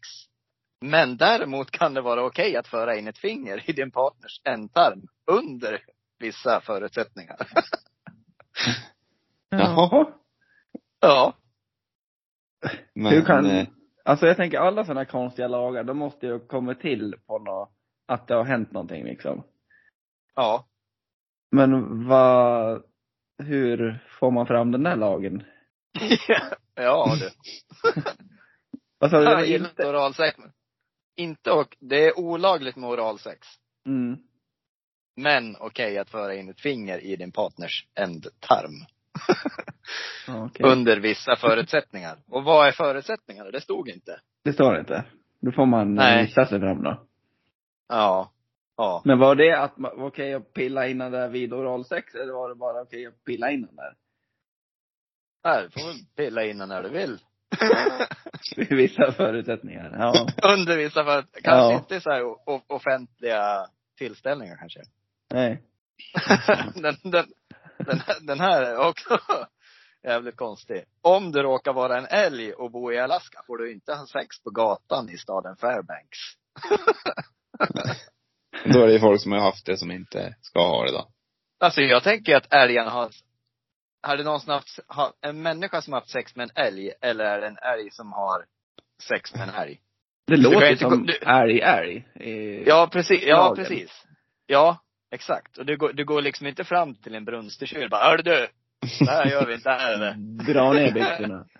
[SPEAKER 2] Men däremot kan det vara okej att föra in ett finger i din partners ändtarm under vissa förutsättningar.
[SPEAKER 4] Jaha.
[SPEAKER 2] Ja.
[SPEAKER 4] Men,
[SPEAKER 3] Hur kan-
[SPEAKER 4] eh,
[SPEAKER 3] Alltså jag tänker alla sådana konstiga lagar, de måste ju komma till på något, att det har hänt någonting liksom.
[SPEAKER 2] Ja. [LAUGHS]
[SPEAKER 3] Men vad, hur får man fram den där lagen?
[SPEAKER 2] ja du.
[SPEAKER 3] Alltså, det
[SPEAKER 2] Han
[SPEAKER 3] var
[SPEAKER 2] gillar inte
[SPEAKER 3] inte,
[SPEAKER 2] oralsex. Inte och, det är olagligt med oralsex.
[SPEAKER 3] mm.
[SPEAKER 2] Men okej att föra in ett finger i din partners ändtarm.
[SPEAKER 3] ja, okej.
[SPEAKER 2] Under vissa förutsättningar. Och vad är förutsättningarna? Det stod inte.
[SPEAKER 3] Det står inte. Då får man
[SPEAKER 2] Nej.
[SPEAKER 3] Nej. gissa sig fram då.
[SPEAKER 2] Ja. Ja.
[SPEAKER 3] Men var det att man, var okej att pilla innan där vid oralsex eller var det bara okej att pilla innan där?
[SPEAKER 2] Här får du pilla in den när du vill.
[SPEAKER 3] [LAUGHS] Vid vissa förutsättningar. Ja.
[SPEAKER 2] Under vissa förutsättningar. Kanske
[SPEAKER 3] Ja.
[SPEAKER 2] inte så här o- o- offentliga tillställningar kanske.
[SPEAKER 3] Nej.
[SPEAKER 2] [LAUGHS] den, den, den, här- den här är också [LAUGHS] jävligt konstig. Om du råkar vara en älg och bo i Alaska får du inte ha sex på gatan i staden Fairbanks.
[SPEAKER 4] då är det ju folk som har haft det som inte ska ha det då.
[SPEAKER 2] Alltså jag tänker att älgen har, hade någonsin haft, ha, en människa som haft sex med en älg eller är det en älg som har sex med en älg?
[SPEAKER 3] Det
[SPEAKER 2] kan
[SPEAKER 3] låter
[SPEAKER 2] inte
[SPEAKER 3] som
[SPEAKER 2] gå- du-
[SPEAKER 3] älg, älg. eh,
[SPEAKER 2] Ja precis, ja
[SPEAKER 3] Lagen.
[SPEAKER 2] precis. Ja, exakt. Och du går, du går liksom inte fram till en brunstkyl bara, hör du, det här gör vi inte här eller?
[SPEAKER 3] Dra ner byxorna.
[SPEAKER 2] [LAUGHS]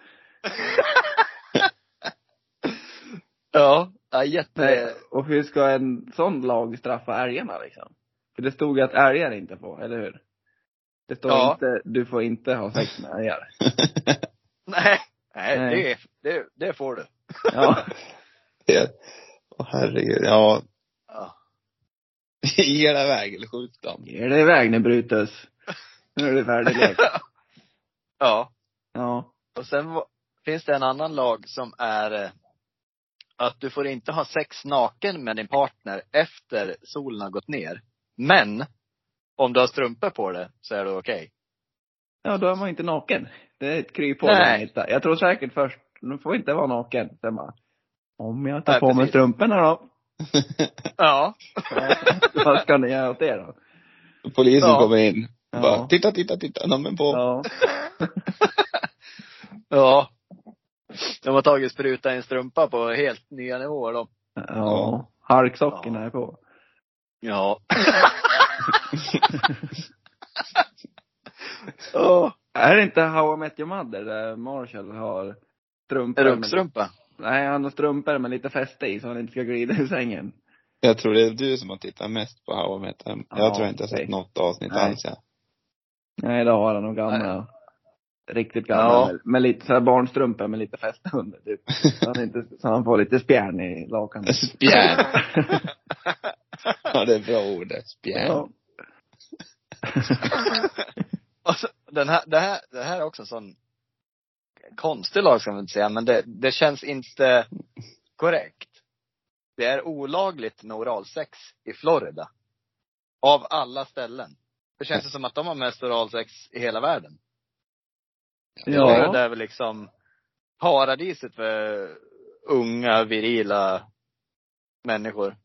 [SPEAKER 2] Ja, ja jätte...
[SPEAKER 3] Nej, och hur ska en sån lag straffa älgarna liksom? För det stod ju att älgar inte får, eller hur? Det står
[SPEAKER 2] Ja.
[SPEAKER 3] inte, du får inte ha sex med älgar.
[SPEAKER 2] Nej, nej,
[SPEAKER 3] Nej.
[SPEAKER 2] Det, det, det får du.
[SPEAKER 3] Ja.
[SPEAKER 4] Det- Åh herregud. Ja.
[SPEAKER 2] Ja.
[SPEAKER 4] Ge dig iväg eller skjut dem.
[SPEAKER 3] Ge dig iväg nu Brutus. Nu är det färdig lek.
[SPEAKER 2] [LAUGHS] ja.
[SPEAKER 3] Ja.
[SPEAKER 2] Och sen va- finns det en annan lag som är eh, att du får inte ha sex naken med din partner efter solen har gått ner. Men om du har strumpor på dig så är det okej.
[SPEAKER 3] Ja, då är man ju inte naken. Det är ett kryphål
[SPEAKER 2] Nej.
[SPEAKER 3] man hittar. Jag tror säkert först, du får inte vara naken. Sen bara, om jag tar
[SPEAKER 2] Nej,
[SPEAKER 3] på mig
[SPEAKER 2] precis.
[SPEAKER 3] strumporna då?
[SPEAKER 2] Ja.
[SPEAKER 3] Ja, [LAUGHS] Vad ska ni göra åt det då?
[SPEAKER 4] Polisen
[SPEAKER 2] Ja.
[SPEAKER 4] kommer in.
[SPEAKER 3] Ja.
[SPEAKER 4] Bara, titta, titta, titta. Nej, men på.
[SPEAKER 3] Ja.
[SPEAKER 2] Ja. De har tagit spruta i en strumpa på helt nya nivåer då.
[SPEAKER 3] Ja. Harksockorna är på.
[SPEAKER 2] Ja. Åh,
[SPEAKER 3] Är det inte How I Met Your Mother där Marshall har strumpor? med,
[SPEAKER 2] Runkstrumpa.
[SPEAKER 3] nej, han har strumpor med lite fäste i så han inte ska glida ur sängen.
[SPEAKER 4] Jag tror det är du som har tittat mest på How I Met Them. Jag
[SPEAKER 3] Ja,
[SPEAKER 4] tror jag inte jag har sett
[SPEAKER 3] säkert.
[SPEAKER 4] något avsnitt
[SPEAKER 3] Nej.
[SPEAKER 4] alls. Ja.
[SPEAKER 3] Nej, då har han nog gamla. Riktigt gamla.
[SPEAKER 2] Ja.
[SPEAKER 3] Med, med lite så här barnstrumpor med lite fäste under typ.
[SPEAKER 2] [LAUGHS]
[SPEAKER 3] Så han, inte, så han får lite spjärn i lakanet.
[SPEAKER 4] Spjärn. Ja, det är bra ord det. Spjärn.
[SPEAKER 3] Ja.
[SPEAKER 2] Och så, den här, det, här, det här är också en sån konstig lag ska man inte säga, men det, det känns inte korrekt. Det är olagligt med oralsex i Florida. Av alla ställen. Det känns ju som att de har mest oralsex i hela världen. Florida
[SPEAKER 3] Ja.
[SPEAKER 2] är väl liksom paradiset för unga, virila människor.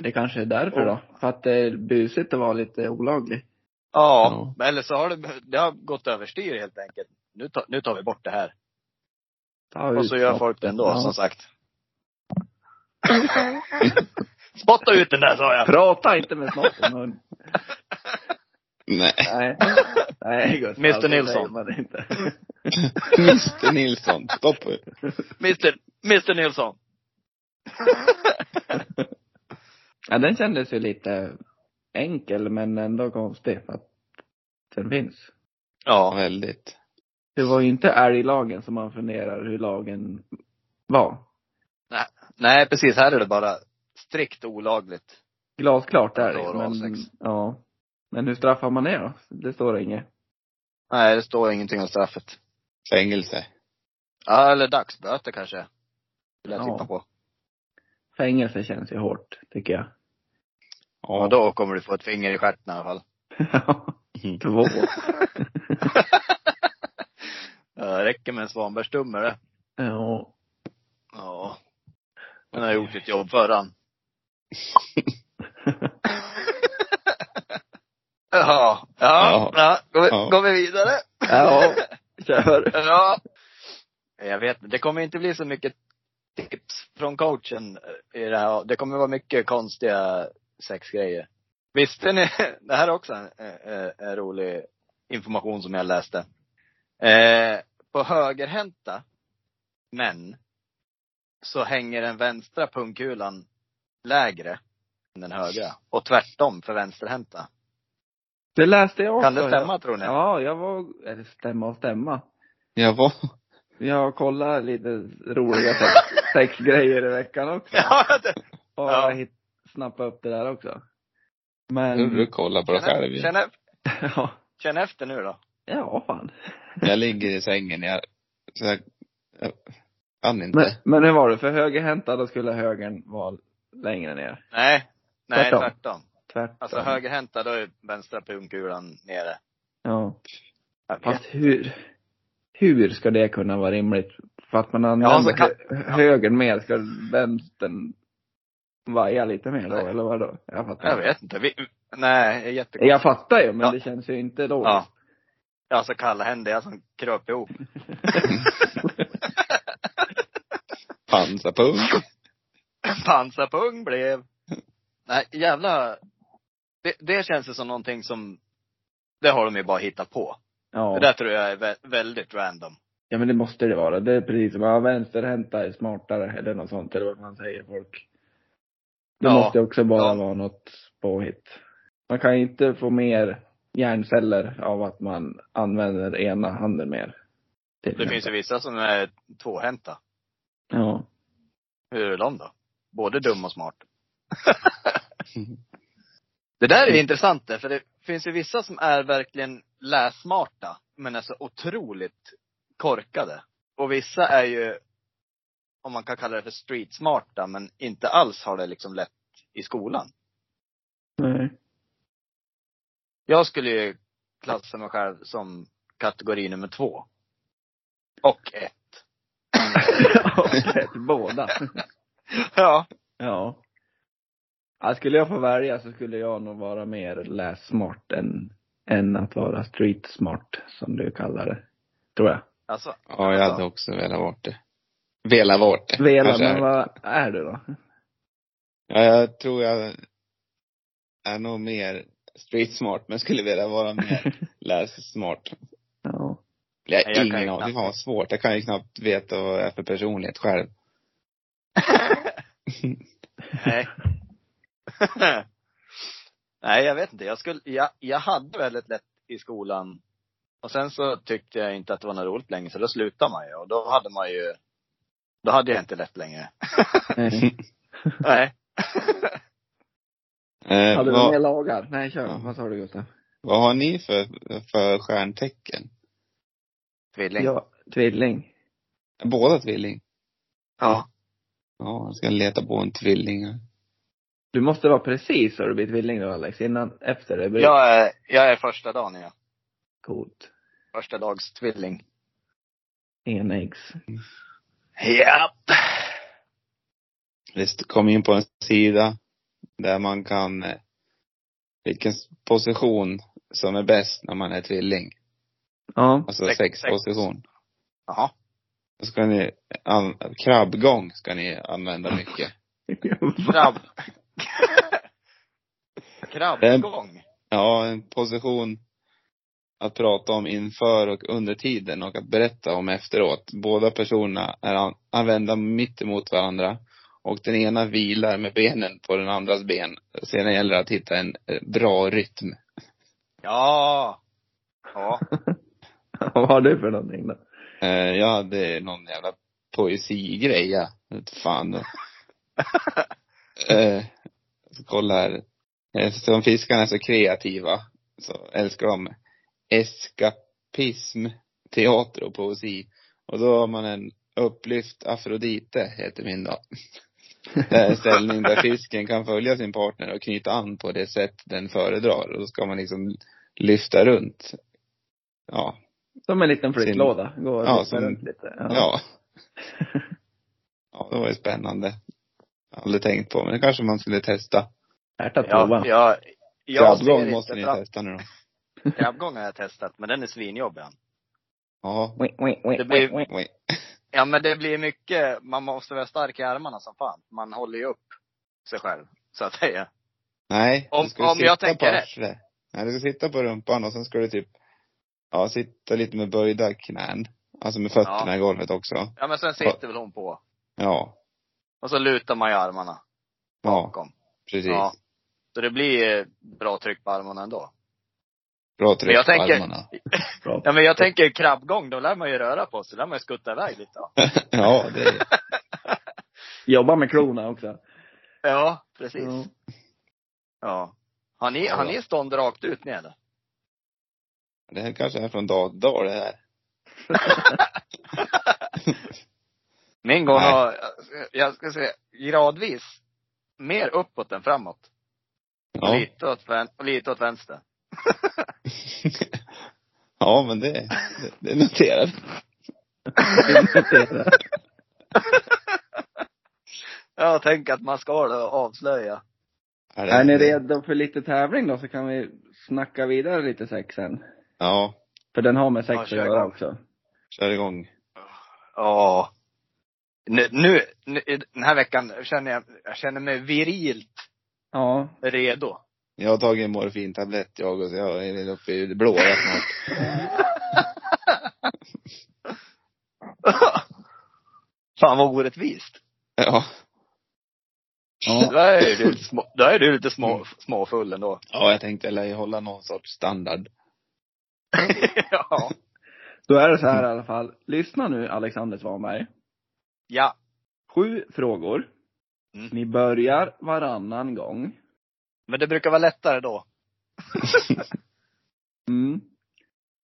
[SPEAKER 3] Det kanske är därför då. För att det är busigt att vara lite olaglig.
[SPEAKER 2] Ja, eller så har det, det har gått överstyr helt enkelt. Nu, ta, nu tar vi bort det här.
[SPEAKER 3] Ta
[SPEAKER 2] Och
[SPEAKER 3] ut
[SPEAKER 2] så gör
[SPEAKER 3] något.
[SPEAKER 2] folk det ändå,
[SPEAKER 3] Ja.
[SPEAKER 2] som sagt. [LAUGHS] Spotta ut den där sa jag!
[SPEAKER 3] Prata inte med snoppen hund.
[SPEAKER 4] Nej. [LAUGHS]
[SPEAKER 3] Nej. Nej Gustav.
[SPEAKER 2] Mr.
[SPEAKER 3] så säger
[SPEAKER 2] Nilsson.
[SPEAKER 3] man inte.
[SPEAKER 4] Mr Nilsson. Stopp.
[SPEAKER 2] Mr, Mr Nilsson!
[SPEAKER 3] Ja, den kändes ju lite enkel men ändå konstig för att den finns.
[SPEAKER 4] Ja,
[SPEAKER 2] Ja.
[SPEAKER 4] väldigt.
[SPEAKER 3] Det var ju inte älglagen som man funderar hur lagen var.
[SPEAKER 2] Nej precis, här är det bara strikt olagligt.
[SPEAKER 3] Glasklart där
[SPEAKER 2] Ja, det var
[SPEAKER 3] men,
[SPEAKER 2] sex.
[SPEAKER 3] ja. Men hur straffar man det då? Det står det inget.
[SPEAKER 2] Nej, det står ingenting om straffet.
[SPEAKER 4] Fängelse.
[SPEAKER 2] Ja, eller dagsböter kanske. Vill jag
[SPEAKER 3] Ja.
[SPEAKER 2] tippa på.
[SPEAKER 3] Fängelse känns ju hårt, tycker jag.
[SPEAKER 2] Ja, då kommer du få ett finger i stjärten i alla fall.
[SPEAKER 3] [LAUGHS]
[SPEAKER 4] Mm.
[SPEAKER 3] Två.
[SPEAKER 2] Ja, det räcker med en svanbärstumme det.
[SPEAKER 3] ja.
[SPEAKER 2] Ja. Han har gjort sitt jobb för han. [LAUGHS] Ja, ja,
[SPEAKER 4] Ja.
[SPEAKER 2] ja. Går, vi,
[SPEAKER 4] Ja.
[SPEAKER 2] går vi vidare? [LAUGHS]
[SPEAKER 3] ja. Kör.
[SPEAKER 2] Ja. Jag vet inte. Det kommer inte bli så mycket tips från coachen i det här. Det kommer vara mycket konstiga sexgrejer. Visste ni, [LAUGHS] det här är också en, en, en rolig information som jag läste. Eh, på högerhänta män så hänger den vänstra pungkulan lägre än den högra. Och tvärtom för vänsterhänta.
[SPEAKER 3] Det läste jag också.
[SPEAKER 2] Kan det stämma tror ni?
[SPEAKER 3] Ja, jag var, eller stämma och stämma.
[SPEAKER 4] Jag var,
[SPEAKER 3] Jag kollade lite roliga
[SPEAKER 2] [LAUGHS]
[SPEAKER 3] sex, sexgrejer i veckan
[SPEAKER 2] [LAUGHS]
[SPEAKER 3] också.
[SPEAKER 2] Ja, det,
[SPEAKER 3] Och
[SPEAKER 2] Ja.
[SPEAKER 3] ja. hit, snappade upp det där också. Men,
[SPEAKER 4] nu du kollar på dig själv
[SPEAKER 2] känn,
[SPEAKER 4] ju.
[SPEAKER 2] känn,
[SPEAKER 3] [LAUGHS] ja.
[SPEAKER 2] känn efter nu då.
[SPEAKER 3] Ja, fan.
[SPEAKER 4] Jag ligger i sängen, jag, så jag, jag kan inte.
[SPEAKER 3] Men, men hur var det? För högerhänta, då skulle högern vara längre ner.
[SPEAKER 2] Nej. Nej,
[SPEAKER 3] Tvärtom.
[SPEAKER 2] tvärtom.
[SPEAKER 3] Tvärtom.
[SPEAKER 2] Alltså högerhänta, då är vänstra pungkulan nere.
[SPEAKER 3] Ja.
[SPEAKER 2] Jag vet.
[SPEAKER 3] Fast hur, hur ska det kunna vara rimligt? För att man använder
[SPEAKER 2] Ja, så kan-
[SPEAKER 3] hö- högern mer, ska vänstern vaja lite mer då,
[SPEAKER 2] Nej.
[SPEAKER 3] eller vadå? Jag fattar
[SPEAKER 2] Jag
[SPEAKER 3] inte.
[SPEAKER 2] vet inte. Vi, nej, jag är jättekonstigt.
[SPEAKER 3] Jag fattar ju, men
[SPEAKER 2] Ja.
[SPEAKER 3] det känns ju inte då.
[SPEAKER 2] Ja. Jag är så kallhändig, jag som kröp ihop. [CLEARS THROAT]
[SPEAKER 4] Pansarpung.
[SPEAKER 2] Pansarpung blev. Nej, jävla. Det, det känns ju som någonting som, det har de ju bara hittat på.
[SPEAKER 3] Ja.
[SPEAKER 2] Det där tror jag är vä- väldigt random.
[SPEAKER 3] ja, men det måste det vara. Det är precis som, ja, vänsterhänta är smartare, eller något sånt, eller vad man säger folk. Det
[SPEAKER 2] Ja.
[SPEAKER 3] måste ju också bara
[SPEAKER 2] Ja.
[SPEAKER 3] vara något påhitt. Man kan ju inte få mer hjärnceller av att man använder ena handen mer. till
[SPEAKER 2] Det finns ju
[SPEAKER 3] exempel.
[SPEAKER 2] vissa som är tvåhänta.
[SPEAKER 3] Ja.
[SPEAKER 2] Hur är de då? Både dum och smart. [LAUGHS] Det där är intressant där, för det finns ju vissa som är verkligen lässmarta, men är så otroligt korkade. Och vissa är ju, om man kan kalla det för streetsmarta, men inte alls har det liksom lätt i skolan. [LAUGHS]
[SPEAKER 3] Nej.
[SPEAKER 2] Jag skulle ju klassa mig själv som kategori nummer två. Och ett.
[SPEAKER 3] Och ett, båda.
[SPEAKER 2] Ja.
[SPEAKER 3] [LAUGHS] Ja. ja. Skulle jag få välja så skulle jag nog vara mer lässmart än, än att vara street smart som du kallar det. Tror jag.
[SPEAKER 2] Alltså,
[SPEAKER 4] Ja, jag hade också velat vart det. Velat vart det.
[SPEAKER 3] Vela,
[SPEAKER 4] Kanske är
[SPEAKER 3] men
[SPEAKER 4] det.
[SPEAKER 3] vad är du då?
[SPEAKER 4] Ja, jag tror jag är nog mer street smart, men skulle vilja
[SPEAKER 2] [LAUGHS]
[SPEAKER 4] vara mer lässmart.
[SPEAKER 3] Ja.
[SPEAKER 4] Jag
[SPEAKER 2] Nej, jag
[SPEAKER 4] har
[SPEAKER 2] kan ju
[SPEAKER 4] ingen aning.
[SPEAKER 2] knappt-
[SPEAKER 4] Fan vad svårt. Jag kan ju knappt veta vad jag är för
[SPEAKER 2] [LAUGHS]
[SPEAKER 4] personlighet själv.
[SPEAKER 2] Nej. [LAUGHS] Nej, jag vet inte. Jag, skulle, jag, jag hade väldigt lätt i skolan. Och sen så tyckte jag inte att det var något roligt längre, så då slutade man ju. Och då hade man ju, då hade jag inte lätt längre.
[SPEAKER 3] Nej.
[SPEAKER 2] [LAUGHS] Nej.
[SPEAKER 4] Eh,
[SPEAKER 3] Hade du mer
[SPEAKER 4] vad,
[SPEAKER 3] lagar? Nej, kör.
[SPEAKER 4] Ja.
[SPEAKER 3] Vad sa du Gustav?
[SPEAKER 4] vad har ni för, för stjärntecken?
[SPEAKER 2] Tvilling. Ja.
[SPEAKER 3] Ja, tvilling.
[SPEAKER 4] Båda tvilling?
[SPEAKER 2] ja.
[SPEAKER 4] Ja, jag ska leta på en tvilling. här.
[SPEAKER 3] Du måste vara precis så du blir tvilling då Alex, innan, efter det blir
[SPEAKER 2] Jag, är, jag är första dagen, ja.
[SPEAKER 3] coolt.
[SPEAKER 2] Första dags tvilling.
[SPEAKER 3] Enäggs.
[SPEAKER 2] Japp.
[SPEAKER 4] Vi st- kom in på en sida där man kan, eh, vilken s- position som är bäst när man är tvilling.
[SPEAKER 3] Ja.
[SPEAKER 4] Alltså
[SPEAKER 2] Sex-
[SPEAKER 4] sex,
[SPEAKER 2] sex.
[SPEAKER 4] position.
[SPEAKER 2] Jaha.
[SPEAKER 4] Då ska ni, an, krabbgång ska ni använda mycket.
[SPEAKER 2] Krabb. [LAUGHS] Krabbgång.
[SPEAKER 4] Ja, en position att prata om inför och under tiden och att berätta om efteråt. Båda personerna är an, använda mitt emot varandra och den ena vilar med benen på den andras ben. Sedan gäller det att hitta en eh, bra rytm.
[SPEAKER 2] Ja.
[SPEAKER 4] [LAUGHS]
[SPEAKER 2] Ja.
[SPEAKER 3] [LAUGHS] Vad har du för någonting då?
[SPEAKER 4] Eh, Jag hade någon jävla poesigrej, jag vet fan. eh, så kolla här. Eh, Eftersom fiskarna är så kreativa så älskar de eskapism. pism, teater och poesi. Och då har man en upplyft Afrodite, heter min då. Det är en ställning där fisken kan följa sin partner och knyta an på det sätt den föredrar. Och då ska man liksom lyfta runt. Ja.
[SPEAKER 3] Som en liten flyttlåda. Gå och
[SPEAKER 4] Ja,
[SPEAKER 3] ja,
[SPEAKER 4] som-
[SPEAKER 3] runt lite.
[SPEAKER 4] Ja. ja. det var ju spännande. Jag har aldrig tänkt på, men det kanske man skulle testa.
[SPEAKER 3] Värt att prova.
[SPEAKER 2] Ja, jag, jag
[SPEAKER 4] Krabbgång måste ni testa nu då.
[SPEAKER 2] Krabbgång har jag testat, men den är svinjobbig. han.
[SPEAKER 4] Ja.
[SPEAKER 3] Wi- wi- wi-
[SPEAKER 2] Det blir-
[SPEAKER 3] wi- wi-
[SPEAKER 4] Oj.
[SPEAKER 2] Ja, men det blir mycket, man måste vara stark i armarna som fan. Man håller ju upp sig själv, så att säga.
[SPEAKER 4] Nej,
[SPEAKER 2] Om-
[SPEAKER 4] du ska ju
[SPEAKER 2] om jag
[SPEAKER 4] sitta
[SPEAKER 2] tänker
[SPEAKER 4] på
[SPEAKER 2] rätt.
[SPEAKER 4] arslet. Nej, du ska sitta på rumpan och sen ska du typ, ja, sitta lite med böjda knän. Alltså med fötterna
[SPEAKER 2] Ja.
[SPEAKER 4] i golvet också.
[SPEAKER 2] Ja, men sen sitter väl hon på.
[SPEAKER 4] Ja.
[SPEAKER 2] Och så lutar man ju armarna
[SPEAKER 4] Ja,
[SPEAKER 2] bakom.
[SPEAKER 4] precis.
[SPEAKER 2] Ja. Så det blir eh, bra tryck på armarna ändå.
[SPEAKER 4] Bra tryck
[SPEAKER 2] Men jag
[SPEAKER 4] på
[SPEAKER 2] tänker-
[SPEAKER 4] armarna.
[SPEAKER 3] Bra.
[SPEAKER 2] Ja, men jag tänker krabbgång, då lär man ju röra på sig. Då lär man ju skutta iväg lite. då.
[SPEAKER 4] ja, det är,
[SPEAKER 3] Jobba med klorna också.
[SPEAKER 2] Ja, precis.
[SPEAKER 3] Ja.
[SPEAKER 2] Mm. Ja. Har ni, har ni stånd rakt ut nere?
[SPEAKER 4] det här kanske är från dag till dag det här.
[SPEAKER 2] Min gång
[SPEAKER 4] Nej.
[SPEAKER 2] har, jag ska säga, gradvis mer uppåt än framåt. Och
[SPEAKER 4] Ja.
[SPEAKER 2] Lite, åt vän, och lite åt vänster.
[SPEAKER 4] [LAUGHS] ja, men det, det, det är noterat.
[SPEAKER 2] Jag tänker att man ska då avslöja.
[SPEAKER 4] Är,
[SPEAKER 3] [LAUGHS]
[SPEAKER 4] det,
[SPEAKER 3] är ni redo för lite tävling då så kan vi snacka vidare lite sex sen.
[SPEAKER 4] Ja,
[SPEAKER 3] För den har med sex
[SPEAKER 2] Ja,
[SPEAKER 3] att
[SPEAKER 2] kör
[SPEAKER 3] göra
[SPEAKER 2] igång.
[SPEAKER 3] också.
[SPEAKER 4] kör igång.
[SPEAKER 2] Ja. Nu, nu, nu, i den här veckan känner jag, jag känner mig virilt
[SPEAKER 3] Ja.
[SPEAKER 2] redo.
[SPEAKER 4] Jag har tagit en morfintablett jag och så jag är väl uppe i det blåa snart.
[SPEAKER 2] [LAUGHS] Fan vad orättvist.
[SPEAKER 4] Ja.
[SPEAKER 2] Då är du lite, små, då är du lite små, småfull ändå.
[SPEAKER 4] Ja, jag tänkte jag lär ju hålla någon sorts standard.
[SPEAKER 2] [LAUGHS] ja.
[SPEAKER 3] Då är det så här i alla fall. Lyssna nu Alexander Svanberg.
[SPEAKER 2] Ja.
[SPEAKER 3] Sju frågor.
[SPEAKER 2] Mm.
[SPEAKER 3] Ni börjar varannan gång.
[SPEAKER 2] Men det brukar vara lättare då.
[SPEAKER 3] Mm.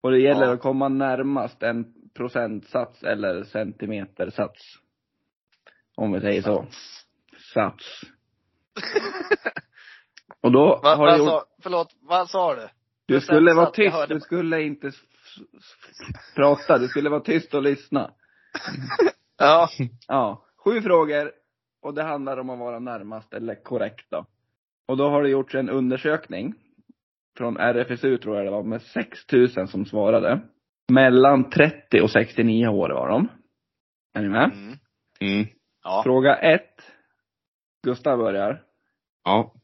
[SPEAKER 3] Och det gäller
[SPEAKER 2] Ja.
[SPEAKER 3] att komma närmast en procentsats eller centimetersats. Om vi säger så. Sats. Och då
[SPEAKER 2] Va,
[SPEAKER 3] har
[SPEAKER 2] vad
[SPEAKER 3] du gjort,
[SPEAKER 2] sa, förlåt, vad sa du?
[SPEAKER 3] du skulle vara
[SPEAKER 2] Procentsats, jag
[SPEAKER 3] tyst,
[SPEAKER 2] hörde bara.
[SPEAKER 3] du skulle inte s- s- s- prata, du skulle vara tyst och lyssna.
[SPEAKER 2] Ja.
[SPEAKER 3] Ja, sju frågor och det handlar om att vara närmast eller korrekt då. Och då har det gjorts en undersökning från RFSU tror jag det var med 6000 som svarade. Mellan 30 och 69 år var de. Är ni med?
[SPEAKER 2] Mm.
[SPEAKER 4] Mm.
[SPEAKER 2] Ja.
[SPEAKER 3] Fråga 1. Gustav börjar.
[SPEAKER 4] Ja.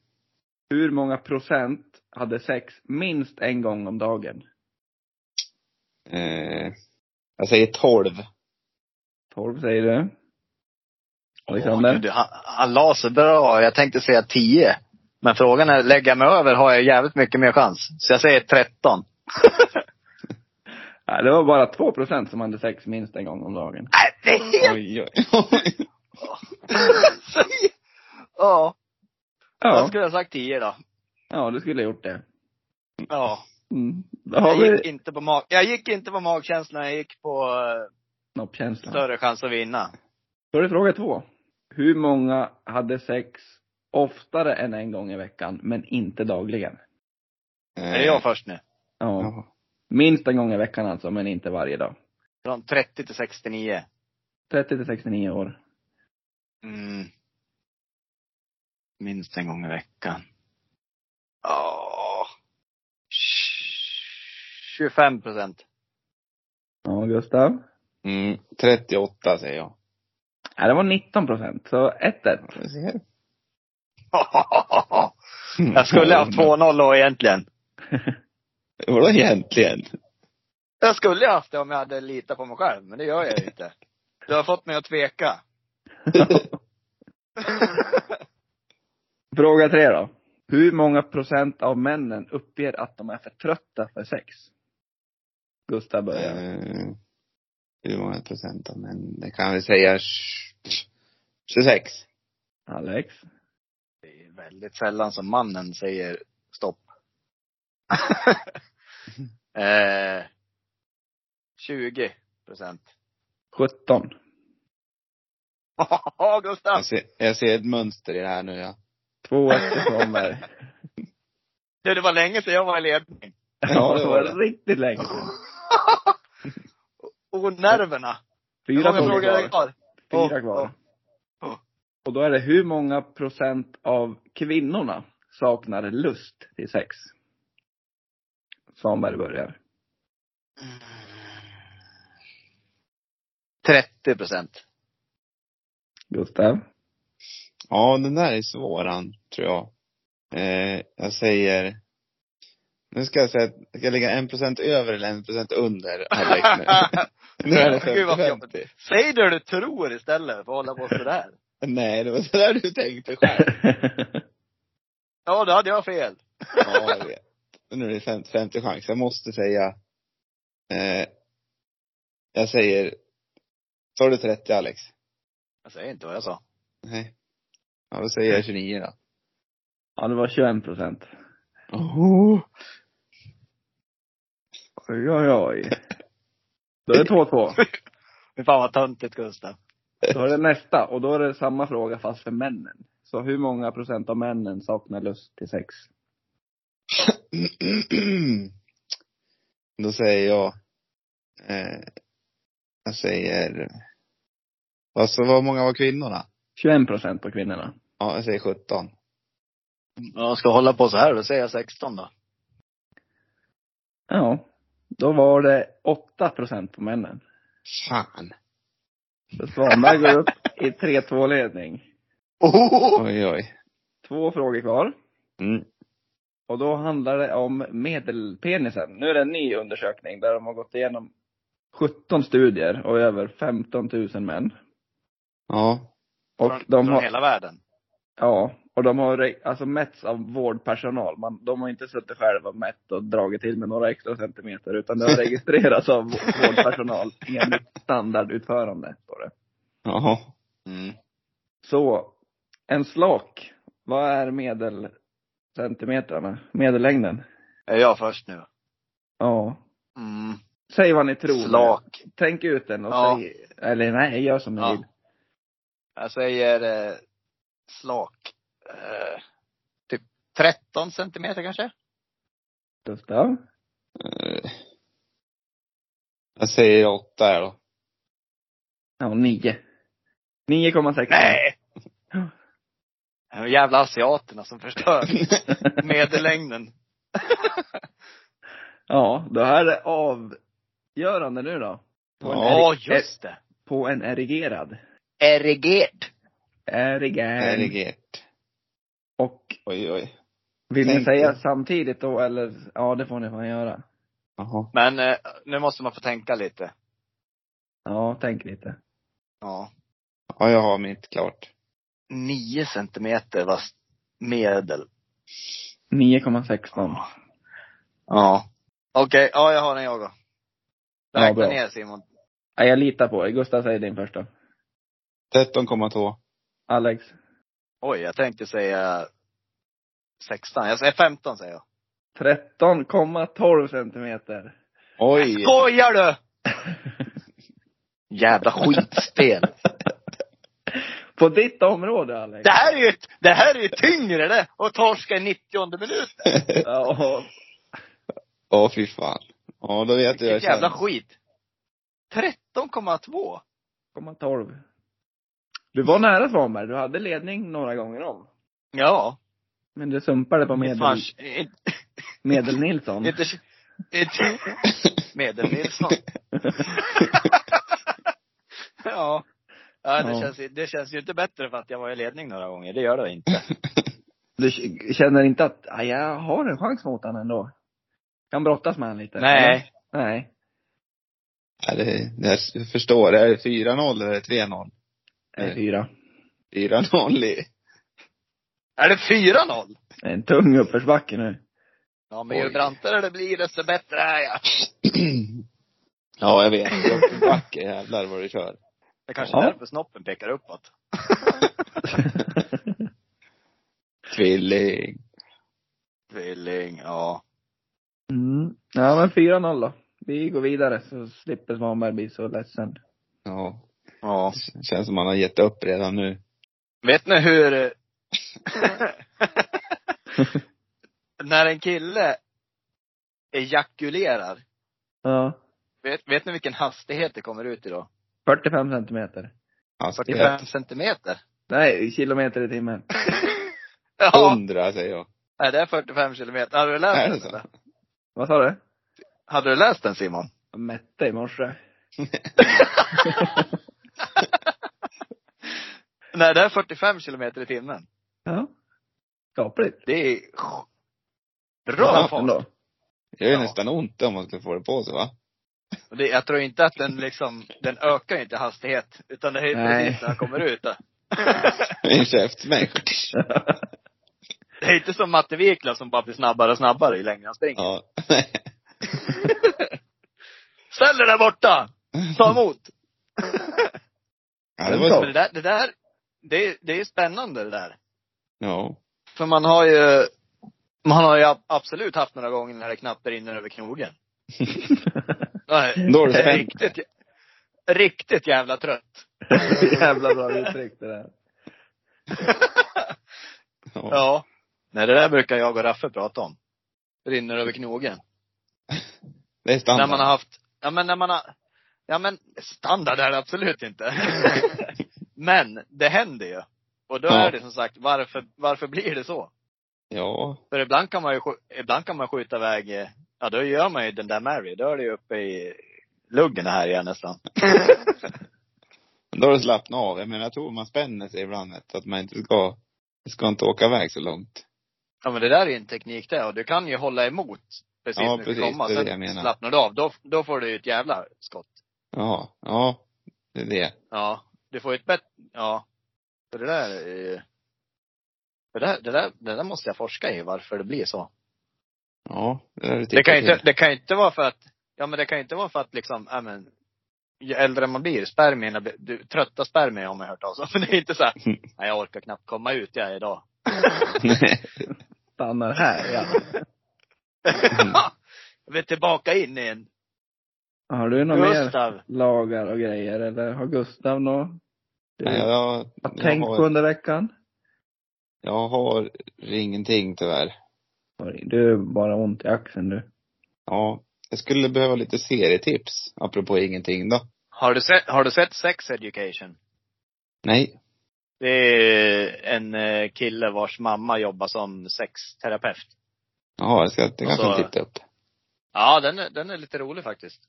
[SPEAKER 3] Hur många procent hade sex minst en gång om dagen?
[SPEAKER 4] Eh, jag säger 12.
[SPEAKER 3] 12 säger du.
[SPEAKER 2] Åh,
[SPEAKER 3] Alexander?
[SPEAKER 2] gud, han, han la sig bra. Jag tänkte säga 10. Men frågan är, lägga mig över har jag jävligt mycket mer chans. Så jag säger 13.
[SPEAKER 3] Nej, det var bara 2 procent som hade sex minst en gång om dagen.
[SPEAKER 2] Nej, det är helt...
[SPEAKER 4] Oj, [LAUGHS] oj.
[SPEAKER 2] Ja, jag
[SPEAKER 3] Ja,
[SPEAKER 2] skulle ha sagt 10 då.
[SPEAKER 3] ja du skulle ha gjort det.
[SPEAKER 2] Ja.
[SPEAKER 3] Mm. Då har
[SPEAKER 2] Jag
[SPEAKER 3] vi
[SPEAKER 2] gick inte på, mag... jag gick inte på magkänslan, jag gick på eh,
[SPEAKER 3] snoppkänslan.
[SPEAKER 2] större chans att vinna.
[SPEAKER 3] Då är det fråga två. Hur många hade sex oftare än en gång i veckan, men inte dagligen?
[SPEAKER 2] Är det jag först nu?
[SPEAKER 3] Ja.
[SPEAKER 4] Ja.
[SPEAKER 3] Minst en gång i veckan alltså, men inte varje dag.
[SPEAKER 2] Från 30 till 69.
[SPEAKER 3] 30 till 69 år.
[SPEAKER 2] Mm. Minst en gång i veckan. Ja. 25 procent. [LAUGHS]
[SPEAKER 3] Ja, Gustav?
[SPEAKER 4] Mm, 38 säger jag.
[SPEAKER 3] Nej, det var 19 procent, så 1-1.
[SPEAKER 2] Jag skulle haft 2-0 då
[SPEAKER 3] [LAUGHS]
[SPEAKER 2] egentligen.
[SPEAKER 4] Vadå egentligen?
[SPEAKER 2] Jag skulle haft det om jag hade litat på mig själv, men det gör jag ju inte. Du har fått mig att tveka.
[SPEAKER 3] [LAUGHS] Fråga tre då. Hur många procent av männen uppger att de är för trötta för sex? Gustav börjar.
[SPEAKER 4] Eh, Hur många procent av män? Det kan vi säga tj- 26.
[SPEAKER 3] Alex?
[SPEAKER 2] Det är väldigt sällan som mannen säger stopp. [LAUGHS] eh, 20 procent.
[SPEAKER 3] 17.
[SPEAKER 2] Ja, Gustav!
[SPEAKER 4] Jag ser, jag ser ett mönster i det här nu ja.
[SPEAKER 3] Två efter Svanberg.
[SPEAKER 2] Du, det var länge sedan jag var i ledning.
[SPEAKER 3] Ja,
[SPEAKER 4] det
[SPEAKER 3] det [LAUGHS] var
[SPEAKER 4] var det.
[SPEAKER 3] riktigt länge sedan.
[SPEAKER 2] Och Oh, nerverna. Hur
[SPEAKER 3] Fyra
[SPEAKER 2] många
[SPEAKER 3] frågor
[SPEAKER 2] frågor är det
[SPEAKER 3] kvar.
[SPEAKER 2] kvar? Oh,
[SPEAKER 3] Fyra
[SPEAKER 2] Ja,
[SPEAKER 3] kvar.
[SPEAKER 2] ja, ja.
[SPEAKER 3] Och då är det hur många procent av kvinnorna saknar lust till sex? Svanberg börjar.
[SPEAKER 2] 30 procent.
[SPEAKER 3] Gustav.
[SPEAKER 4] Ja, den där är svåran, tror jag. Eh, jag säger, nu ska jag säga, att jag ska ligga en procent över eller en procent under Alex nu.
[SPEAKER 2] [LAUGHS]
[SPEAKER 4] [LAUGHS] nu är det
[SPEAKER 2] Gud, vad
[SPEAKER 4] 50, 50.
[SPEAKER 2] Säg det du tror istället för att hålla på sådär.
[SPEAKER 4] Nej, det var sådär du tänkte själv.
[SPEAKER 2] Ja, då hade jag fel.
[SPEAKER 4] Ja, jag vet. Men Nu är det 50-50 chans. Jag måste säga, eh, jag säger, tar du 30 Alex?
[SPEAKER 2] Jag säger inte vad jag sa.
[SPEAKER 4] Nej. Ja, då säger jag 29 då.
[SPEAKER 3] ja, det var 21 procent.
[SPEAKER 4] Oh.
[SPEAKER 3] Oj, oj, oj. Då är det 2-2.
[SPEAKER 2] Fy fan vad töntigt Gustav.
[SPEAKER 3] Då är det nästa och då är det samma fråga fast för männen. Så hur många procent av männen saknar lust till sex?
[SPEAKER 4] [CLEARS THROAT] Då säger jag, eh, jag säger, alltså vad många var kvinnorna?
[SPEAKER 3] 21 procent på kvinnorna.
[SPEAKER 4] Ja, jag säger 17.
[SPEAKER 2] Ja, ska jag hålla på så här då säger jag 16 då.
[SPEAKER 3] Ja. Då var det 8 procent på männen.
[SPEAKER 4] Fan.
[SPEAKER 3] Så Svanberg går upp i 3-2 ledning.
[SPEAKER 2] Oh!
[SPEAKER 4] Oj, oj.
[SPEAKER 3] Två frågor kvar.
[SPEAKER 4] Mm.
[SPEAKER 3] Och då handlar det om medelpenisen. Nu är det en ny undersökning där de har gått igenom 17 studier och över 15 000 män.
[SPEAKER 4] Ja.
[SPEAKER 3] Och
[SPEAKER 2] från,
[SPEAKER 3] de
[SPEAKER 2] från
[SPEAKER 3] har,
[SPEAKER 2] hela världen.
[SPEAKER 3] ja, och de har re- alltså mätts av vårdpersonal. Man, de har inte suttit själva och mätt och dragit till med några extra centimeter utan
[SPEAKER 2] [LAUGHS]
[SPEAKER 3] det har registrerats av vå- vårdpersonal enligt standardutförande. Står det.
[SPEAKER 4] Ja.
[SPEAKER 2] Mm.
[SPEAKER 3] Så, en slak. Vad är medelcentimeterna? Medellängden?
[SPEAKER 2] Är jag först nu?
[SPEAKER 3] Ja.
[SPEAKER 2] Mm.
[SPEAKER 3] Säg vad ni tror.
[SPEAKER 2] Slak.
[SPEAKER 3] Tänk ut den och
[SPEAKER 2] Ja.
[SPEAKER 3] säg, eller nej, gör som ni
[SPEAKER 2] Ja.
[SPEAKER 3] vill.
[SPEAKER 2] Jag säger eh, slak. Eh, typ 13 centimeter kanske?
[SPEAKER 3] Gustav.
[SPEAKER 4] Eh, Jag säger 8 här då.
[SPEAKER 3] Ja, nio. 9,6.
[SPEAKER 2] Nej! De jävla asiaterna som [LAUGHS] förstör medellängden.
[SPEAKER 3] Ja, då här är avgörande nu då. På en,
[SPEAKER 4] Ja,
[SPEAKER 2] Ja,
[SPEAKER 3] erig- eh,
[SPEAKER 2] just det.
[SPEAKER 3] på en erigerad.
[SPEAKER 2] Erigerad.
[SPEAKER 3] Erigerad.
[SPEAKER 4] Erigert.
[SPEAKER 3] Och
[SPEAKER 4] Oj, oj.
[SPEAKER 3] vill ni
[SPEAKER 4] Tänk
[SPEAKER 3] säga
[SPEAKER 4] det.
[SPEAKER 3] samtidigt då eller? Ja, det får ni fan göra.
[SPEAKER 4] Jaha.
[SPEAKER 2] Men eh, nu måste man få tänka lite.
[SPEAKER 3] Ja, tänk lite.
[SPEAKER 2] Ja.
[SPEAKER 4] Ja, jag har mitt klart.
[SPEAKER 2] 9 centimeter var s- medel.
[SPEAKER 3] 9,16.
[SPEAKER 2] Ja. ja. Okej, ja jag har den jag då.
[SPEAKER 3] Ja,
[SPEAKER 2] Räkna
[SPEAKER 3] bra.
[SPEAKER 2] ner Simon.
[SPEAKER 3] Ja, jag litar på er. Gustav säger din första.
[SPEAKER 4] 13,2.
[SPEAKER 3] Alex.
[SPEAKER 2] Oj, jag tänkte säga 16. Jag säger 15 säger jag.
[SPEAKER 3] 13,12 centimeter.
[SPEAKER 4] Oj.
[SPEAKER 2] [LAUGHS] Skojar du? [LAUGHS] Jävla skitspel.
[SPEAKER 3] På ditt område
[SPEAKER 2] [LAUGHS]
[SPEAKER 3] Alex.
[SPEAKER 2] Det här är ju, ett- det här är ju tyngre det! Och torska i 90 minuten.
[SPEAKER 3] Ja.
[SPEAKER 4] Ja, [LAUGHS] fy fan. Ja, då vet jag.
[SPEAKER 2] Vilket jävla
[SPEAKER 4] Jävla...
[SPEAKER 2] skit. 13,2.
[SPEAKER 3] 12. Du var nära Svanberg. Du hade ledning några gånger om.
[SPEAKER 2] Ja.
[SPEAKER 3] Men du sumpade på medel,
[SPEAKER 2] Fan, inte,
[SPEAKER 3] medel Nilsson.
[SPEAKER 2] inte, inte Medel-Nilsson. [LAUGHS] ja. Ja, det,
[SPEAKER 3] Ja.
[SPEAKER 2] Känns, ju- det känns ju inte bättre för att jag var i ledning några gånger. Det gör det inte.
[SPEAKER 3] Du k- känner inte att, "Ah, jag har en chans mot honom ändå? Kan brottas med honom lite? eller?
[SPEAKER 2] [LAUGHS] Nej.
[SPEAKER 3] Nej.
[SPEAKER 4] Ja, det, det här, jag förstår. Är det 4-0 eller är det 3-0?
[SPEAKER 3] Det
[SPEAKER 4] Nej.
[SPEAKER 3] är fyra.
[SPEAKER 4] 4-0 i... [CLEARS THROAT]
[SPEAKER 2] Är det 4-0?
[SPEAKER 3] Det är en tung uppförsbacke nu.
[SPEAKER 2] Ja, men
[SPEAKER 4] Oj.
[SPEAKER 2] ju brantare det blir desto bättre är jag.
[SPEAKER 4] ja, jag vet. Uppförsbacke, jävlar vad du kör.
[SPEAKER 2] Det är kanske
[SPEAKER 3] Ja.
[SPEAKER 2] är därför snoppen pekar uppåt.
[SPEAKER 4] Tvilling.
[SPEAKER 2] Tvilling, ja.
[SPEAKER 3] mm. Ja men 4-0 då. vi går vidare så slipper Svanberg bli så ledsen.
[SPEAKER 4] Ja.
[SPEAKER 2] Ja.
[SPEAKER 4] Känns som man har gett upp redan nu.
[SPEAKER 2] Vet ni hur... [LAUGHS] eh, När en kille ejakulerar,
[SPEAKER 3] Ja.
[SPEAKER 2] vet, vet ni vilken hastighet det kommer ut i då?
[SPEAKER 3] 45 centimeter.
[SPEAKER 4] Hastighet.
[SPEAKER 2] 45 centimeter.
[SPEAKER 3] Nej, kilometer i timmen.
[SPEAKER 2] Ja,
[SPEAKER 4] 100 säger jag.
[SPEAKER 2] Oh. nej, det är 45 kilometer. Hade du
[SPEAKER 4] Är
[SPEAKER 2] läst
[SPEAKER 4] det
[SPEAKER 2] den?
[SPEAKER 4] så?
[SPEAKER 2] eller?
[SPEAKER 3] Vad sa du?
[SPEAKER 2] Hade du läst den Simon?
[SPEAKER 3] Jag mätte i morse.
[SPEAKER 2] Nej, det är 45 kilometer i timmen.
[SPEAKER 3] Ja. Skapligt.
[SPEAKER 2] Det är sj- bra
[SPEAKER 3] Ja,
[SPEAKER 2] fart.
[SPEAKER 3] ändå.
[SPEAKER 4] Det gör ju
[SPEAKER 2] Ja.
[SPEAKER 4] nästan ont om man skulle få det på sig va?
[SPEAKER 2] Och Det, jag tror inte att den liksom, den ökar ju inte hastighet. Utan det är ju
[SPEAKER 3] Nej.
[SPEAKER 2] precis när den kommer ut. då. [LAUGHS]
[SPEAKER 4] I en käftsmäll.
[SPEAKER 2] Det är inte som Matte Wiklund som bara blir snabbare och snabbare ju längre han springer.
[SPEAKER 4] Ja.
[SPEAKER 2] Ställ dig där borta! Ta emot!
[SPEAKER 4] ja, det
[SPEAKER 2] Men
[SPEAKER 4] var
[SPEAKER 2] det där, det där, det, är- det är ju spännande det där.
[SPEAKER 4] Ja.
[SPEAKER 2] För man har ju, man har ju ab- absolut haft några gånger när det knappt rinner över knogen. Nej,
[SPEAKER 4] Då har du
[SPEAKER 2] det är
[SPEAKER 4] spänt.
[SPEAKER 2] riktigt, jä- riktigt jävla trött.
[SPEAKER 3] [LAUGHS] Jävla bra uttryck det där.
[SPEAKER 4] Ja.
[SPEAKER 2] Ja. Nej, det där brukar jag och Raffe prata om. Rinner över knogen.
[SPEAKER 4] Det är
[SPEAKER 2] När
[SPEAKER 4] standard.
[SPEAKER 2] man har haft, ja men när man har, ja men standard är det absolut [LAUGHS] inte. men det händer ju. Och då
[SPEAKER 4] Ja.
[SPEAKER 2] är det som sagt, varför, varför blir det så?
[SPEAKER 4] Ja.
[SPEAKER 2] För ibland kan man ju, skj- ibland kan man skjuta iväg, eh, ja då gör man ju den där Mary, då är det ju uppe i luggen här igen nästan.
[SPEAKER 4] Då har du slappnat av. Jag menar jag tror man spänner sig ibland vet, att man inte ska, ska inte åka iväg så långt.
[SPEAKER 2] Ja men det där är ju en teknik det, och du kan ju hålla emot precis
[SPEAKER 4] Ja,
[SPEAKER 2] när du ska
[SPEAKER 4] precis,
[SPEAKER 2] komma.
[SPEAKER 4] det är
[SPEAKER 2] Sen
[SPEAKER 4] det jag menar.
[SPEAKER 2] slappnar du av, då, då får du ju ett jävla skott.
[SPEAKER 4] Ja. Ja. Det är det.
[SPEAKER 2] Ja, du får ju ett bättre, ja. Så det där är ju, det där, det där, det där måste jag forska i, varför det blir så.
[SPEAKER 4] Ja. Det, där är typ-
[SPEAKER 2] Det kan ju inte, det kan ju inte vara för att, ja men det kan ju inte vara för att liksom, ja men, ju äldre man blir, spermierna, blir- du, trötta spermier har man hört talas om. [LAUGHS] Men det är inte så här,
[SPEAKER 4] Mm.
[SPEAKER 2] nej jag orkar knappt komma ut jag är idag.
[SPEAKER 3] Stannar här, ja.
[SPEAKER 4] Mm.
[SPEAKER 2] [LAUGHS] jag vill tillbaka in igen.
[SPEAKER 3] Har du några mer
[SPEAKER 2] Gustav.
[SPEAKER 3] lagar och grejer eller har Gustav något? Du
[SPEAKER 4] [LAUGHS] Nej, jag,
[SPEAKER 3] har
[SPEAKER 4] jag,
[SPEAKER 3] tänkt på
[SPEAKER 4] har,
[SPEAKER 3] under veckan?
[SPEAKER 4] jag har ingenting tyvärr.
[SPEAKER 3] Oj, Du är bara ont i axeln du.
[SPEAKER 4] Ja. Jag skulle behöva lite serietips. Apropå ingenting då.
[SPEAKER 2] Har du sett, har du sett Sex Education?
[SPEAKER 4] Nej.
[SPEAKER 2] Det är en eh, kille vars mamma jobbar som sexterapeut.
[SPEAKER 4] Jaha, det, ska, det kanske
[SPEAKER 2] så-
[SPEAKER 4] jag titta upp.
[SPEAKER 2] Ja, den är, den är lite rolig faktiskt.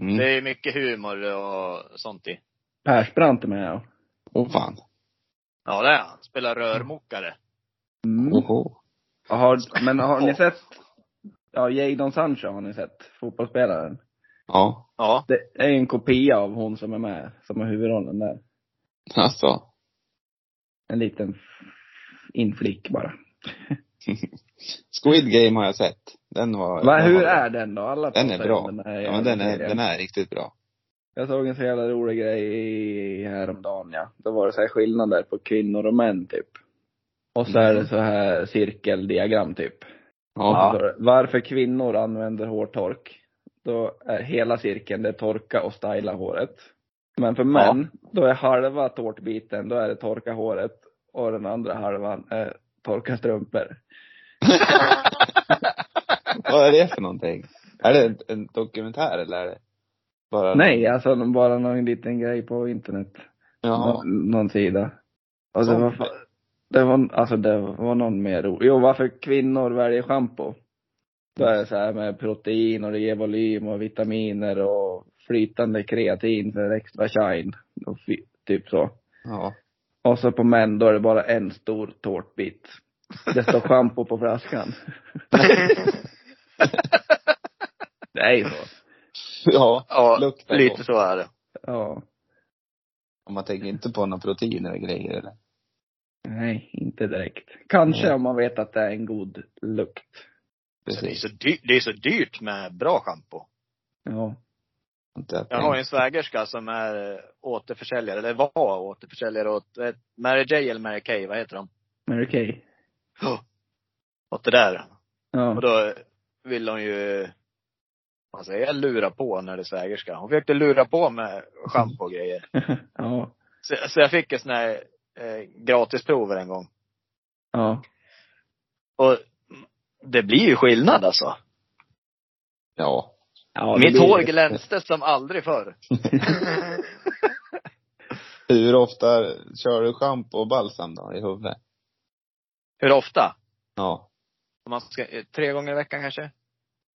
[SPEAKER 4] Mm.
[SPEAKER 2] Det är mycket humor och sånt i.
[SPEAKER 3] Persbrandt är med ja.
[SPEAKER 4] Åh fan.
[SPEAKER 2] Ja, det är han. Spelar rörmokare.
[SPEAKER 3] Mm.
[SPEAKER 4] Oho.
[SPEAKER 3] Har, men har ni sett, ja Jadon Sancho har ni sett, fotbollsspelaren.
[SPEAKER 4] Ja.
[SPEAKER 2] Ja.
[SPEAKER 3] Det är ju en kopia av hon som är med, som har huvudrollen där.
[SPEAKER 4] Alltså.
[SPEAKER 3] En liten inflick bara.
[SPEAKER 4] Squid Game har jag sett. Den var...
[SPEAKER 3] Va,
[SPEAKER 4] den
[SPEAKER 3] hur
[SPEAKER 4] var-
[SPEAKER 3] är den då? Alla
[SPEAKER 4] Den är
[SPEAKER 3] pratar ju
[SPEAKER 4] bra.
[SPEAKER 3] om Den här
[SPEAKER 4] Ja, men den är,
[SPEAKER 3] serien.
[SPEAKER 4] den är riktigt bra.
[SPEAKER 3] Jag såg en så jävla rolig grej i- häromdagen ja. Då var det så här skillnader på kvinnor och män typ. Och så är det så här cirkeldiagram typ.
[SPEAKER 4] Ja.
[SPEAKER 3] Så står det, Varför kvinnor använder hårtork. Då är hela cirkeln det är torka och styla håret. Men för män, då är halva tårtbiten, då är det torka håret. Och den andra halvan är torka strumpor.
[SPEAKER 4] Vad är det för någonting? Är det en, en dokumentär eller är det bara?
[SPEAKER 3] Nej, alltså bara någon liten grej på internet.
[SPEAKER 4] Ja.
[SPEAKER 3] någon, någon sida. Och det
[SPEAKER 4] Sånt.
[SPEAKER 3] var, fa- det var, alltså det var någon mer ro. Jo, varför kvinnor väljer schampo. Då är det så här med protein och det ger volym och vitaminer och flytande kreatin för extra shine. Och fy, typ så.
[SPEAKER 4] Ja.
[SPEAKER 3] Och så på män, då är det bara en stor tårtbit. Det står schampo på flaskan. det är ju så.
[SPEAKER 4] Ja.
[SPEAKER 2] ja,
[SPEAKER 4] Luktar
[SPEAKER 2] lite
[SPEAKER 4] gott.
[SPEAKER 2] så är det.
[SPEAKER 3] Ja.
[SPEAKER 4] Om man tänker inte på några proteiner och grejer eller?
[SPEAKER 3] Nej, inte direkt. Kanske
[SPEAKER 4] Nej.
[SPEAKER 3] om man vet att det är en god lukt.
[SPEAKER 2] Så Det är,
[SPEAKER 4] Precis.
[SPEAKER 2] så dyrt, det är så dyrt med bra schampo.
[SPEAKER 3] Ja.
[SPEAKER 4] Inte att
[SPEAKER 2] Jag har ju en svägerska som är eh, återförsäljare, eller var återförsäljare åt eh, Mary J eller Mary Kay, vad heter de?
[SPEAKER 3] Mary Kay.
[SPEAKER 2] Åt det där.
[SPEAKER 3] Ja.
[SPEAKER 2] Och då vill hon ju Alltså jag lurar på när det är svägerska. Hon försökte lura på med schampo och grejer.
[SPEAKER 3] [LAUGHS] ja.
[SPEAKER 2] Så, så jag fick en sån här eh, gratisprover en gång.
[SPEAKER 3] Ja.
[SPEAKER 2] Och det blir ju skillnad alltså.
[SPEAKER 4] Ja. [LAUGHS]
[SPEAKER 3] ja det
[SPEAKER 2] Mitt
[SPEAKER 3] blir-
[SPEAKER 2] hår glänste som aldrig
[SPEAKER 3] [LAUGHS]
[SPEAKER 2] förr.
[SPEAKER 4] Hur ofta kör du schampo och balsam då i huvudet?
[SPEAKER 2] Hur ofta?
[SPEAKER 4] Ja.
[SPEAKER 2] Om man ska, eh, tre gånger i veckan kanske?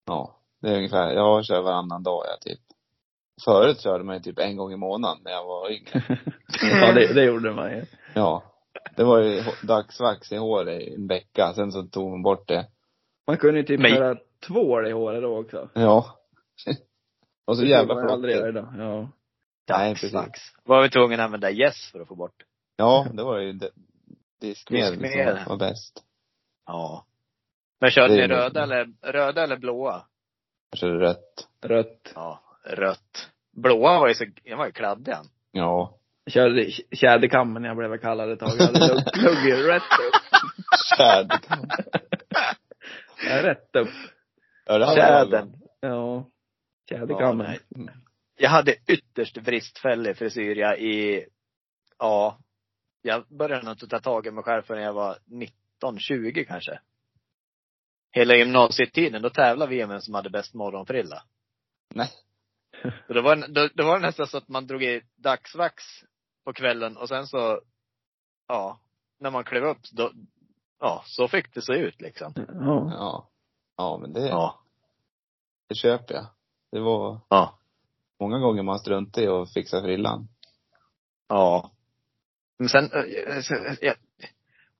[SPEAKER 4] Ja. Det är ungefär, jag kör varannan dag jag typ. Förut körde man ju typ en gång i månaden när jag var yngre.
[SPEAKER 3] [LAUGHS] Ja, det, det gjorde man ju.
[SPEAKER 4] Ja. Det var ju hå- dagsvax i håret i en vecka, sen så tog man bort det.
[SPEAKER 3] Man kunde ju typ
[SPEAKER 2] Men-
[SPEAKER 3] köra tvål i håret då också.
[SPEAKER 4] Ja. [LAUGHS] Och så jävla
[SPEAKER 3] Det får man aldrig göra
[SPEAKER 4] flottigt.
[SPEAKER 3] idag. Ja.
[SPEAKER 4] Nej,
[SPEAKER 2] Dags,
[SPEAKER 4] precis.
[SPEAKER 2] dags. Var vi tvungna att använda gäss för att få bort.
[SPEAKER 4] Ja, det var ju det- diskmedel
[SPEAKER 2] Diskmedel.
[SPEAKER 4] som var bäst.
[SPEAKER 2] Ja. Men körde
[SPEAKER 4] Det
[SPEAKER 2] ni
[SPEAKER 4] är-
[SPEAKER 2] röda eller, röda eller blåa?
[SPEAKER 4] Jag körde rött.
[SPEAKER 3] Rött.
[SPEAKER 2] Ja, rött. Blåa var ju så, den var ju kladdig han.
[SPEAKER 4] Ja.
[SPEAKER 3] Körde tj- tjäderkammen när jag blev kallad ett tag. Jag hade lugg-
[SPEAKER 4] [LAUGHS]
[SPEAKER 3] plugg rätt upp. [LAUGHS]
[SPEAKER 4] Tjäd.
[SPEAKER 3] Ja, Rätt upp.
[SPEAKER 4] Ja, det hade jag väl.
[SPEAKER 2] Tjädern.
[SPEAKER 3] Ja. Tjäderkammen.
[SPEAKER 2] Ja, Jag hade ytterst bristfällig frisyr jag i, ja, jag började nog inte ta tag i mig själv förrän jag var 19, 20 kanske. Hela gymnasietiden, då tävlade vi i vem som hade bäst morgonfrilla.
[SPEAKER 4] Nej.
[SPEAKER 2] Så det var, då, då var det nästan så att man drog i dagsvax på kvällen och sen så, ja, när man klev upp, då, ja, så fick det se ut liksom.
[SPEAKER 3] ja.
[SPEAKER 4] Ja. Ja, men det,
[SPEAKER 2] Ja.
[SPEAKER 4] det köper jag. Det var
[SPEAKER 2] Ja.
[SPEAKER 4] många gånger man struntade i att fixa frillan.
[SPEAKER 2] Ja. Men sen, eh, eh, så- eh, jag,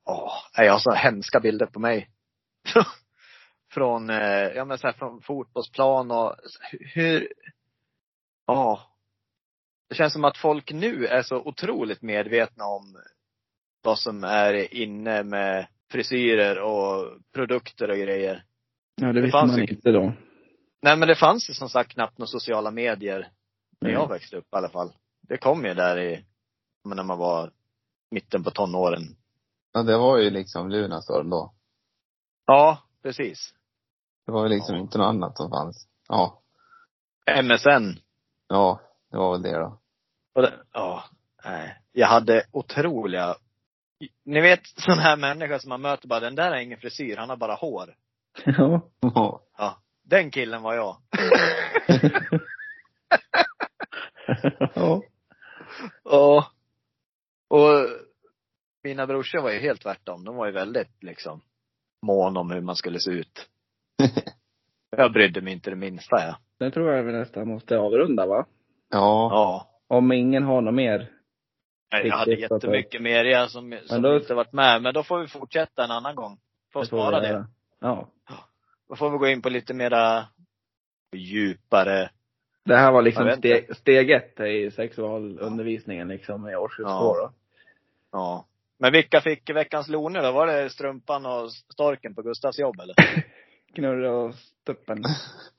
[SPEAKER 2] åh, nej, jag har så hemska bilder på mig. [LAUGHS] från, eh, ja men så här, från fotbollsplan och så- hur, ja. Det känns som att folk nu är så otroligt medvetna om vad som är inne med frisyrer och produkter och grejer.
[SPEAKER 3] ja, det
[SPEAKER 2] Det
[SPEAKER 3] visste
[SPEAKER 2] fanns
[SPEAKER 3] man
[SPEAKER 2] ju-
[SPEAKER 3] inte då. [LAUGHS]
[SPEAKER 2] Nej men det fanns ju som sagt knappt några sociala medier när jag växte upp i alla fall. Det kom ju där i, men när man var mitten på tonåren.
[SPEAKER 4] Ja, det var ju liksom Lunarstorm då.
[SPEAKER 2] Ja, precis.
[SPEAKER 4] Det var ju liksom
[SPEAKER 2] Ja.
[SPEAKER 4] inte något annat som fanns. Ja.
[SPEAKER 2] MSN.
[SPEAKER 4] Ja, det var väl det då. [LAUGHS]
[SPEAKER 2] Och det, ja, nej. Jag hade otroliga, ni vet sån här människa som man möter bara, den där har ingen frisyr, han har bara hår.
[SPEAKER 3] Ja.
[SPEAKER 4] Ja.
[SPEAKER 2] Den killen var jag.
[SPEAKER 3] ja.
[SPEAKER 2] [LAUGHS] Ja. Och mina brorsor var ju helt tvärtom. De var ju väldigt liksom mån om hur man skulle se
[SPEAKER 3] [LAUGHS]
[SPEAKER 2] ut. Jag brydde mig inte det minsta jag.
[SPEAKER 3] Det tror jag vi nästan måste avrunda va?
[SPEAKER 4] Ja.
[SPEAKER 2] Ja.
[SPEAKER 3] Om ingen har något mer.
[SPEAKER 2] Nej, Jag hade
[SPEAKER 3] Riktigt, alltså.
[SPEAKER 2] jättemycket mer jag som, som
[SPEAKER 3] då-
[SPEAKER 2] inte varit med. Men då får vi fortsätta en annan gång. Får
[SPEAKER 3] det får vi
[SPEAKER 2] spara det.
[SPEAKER 3] göra. Ja.
[SPEAKER 2] Då får vi gå in på lite mera djupare.
[SPEAKER 3] Det här var
[SPEAKER 2] Jag
[SPEAKER 3] liksom
[SPEAKER 2] vet
[SPEAKER 3] ste, steg ett i sexualundervisningen liksom i årskurs
[SPEAKER 2] Ja.
[SPEAKER 3] två då.
[SPEAKER 2] Ja. Men vilka fick veckans loner då? Var det strumpan och storken på Gustavs jobb eller?
[SPEAKER 3] Knurra och
[SPEAKER 4] [LAUGHS]
[SPEAKER 3] stuppen.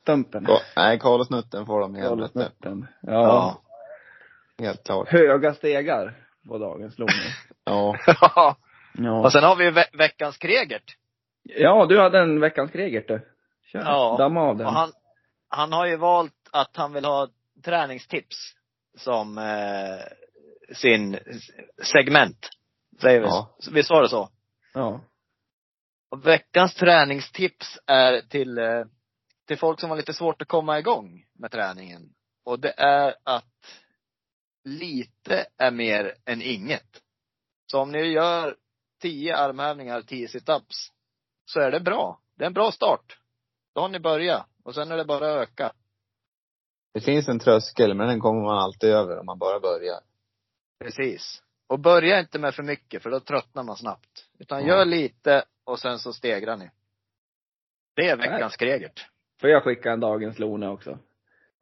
[SPEAKER 3] Stumpen.
[SPEAKER 4] Ka- Nej, Karl och Snutten får de i helvete.
[SPEAKER 3] Snutten. ja.
[SPEAKER 4] Helt klart.
[SPEAKER 3] Höga stegar på dagens loner.
[SPEAKER 4] Ja.
[SPEAKER 2] [LAUGHS] Ja.
[SPEAKER 3] Ja.
[SPEAKER 2] och sen har vi ju ve- veckans Kregert.
[SPEAKER 3] Alltså- ja, du hade en veckans Kregert du. Kör.
[SPEAKER 2] Ja.
[SPEAKER 3] Damma av den.
[SPEAKER 2] Och han, han har ju valt att han vill ha träningstips som eh, sin s- segment. Säger vi.
[SPEAKER 4] Ja.
[SPEAKER 2] Vi sa det så?
[SPEAKER 3] Ja.
[SPEAKER 2] Och veckans träningstips är till, eh, till folk som har lite svårt att komma igång med träningen. Och det är att lite är mer än inget. Så om ni gör 10 armhävningar, 10 situps, så är det bra. Det är en bra start. Då har ni börjat. Och sen är det bara att öka.
[SPEAKER 4] Det finns en tröskel, men den kommer man alltid över om man bara börjar.
[SPEAKER 2] Precis. Och börja inte med för mycket, för då tröttnar man snabbt. Utan
[SPEAKER 4] Ja.
[SPEAKER 2] gör lite och sen så stegrar ni. Det är veckans kregert.
[SPEAKER 3] Får jag skicka en dagens lone också?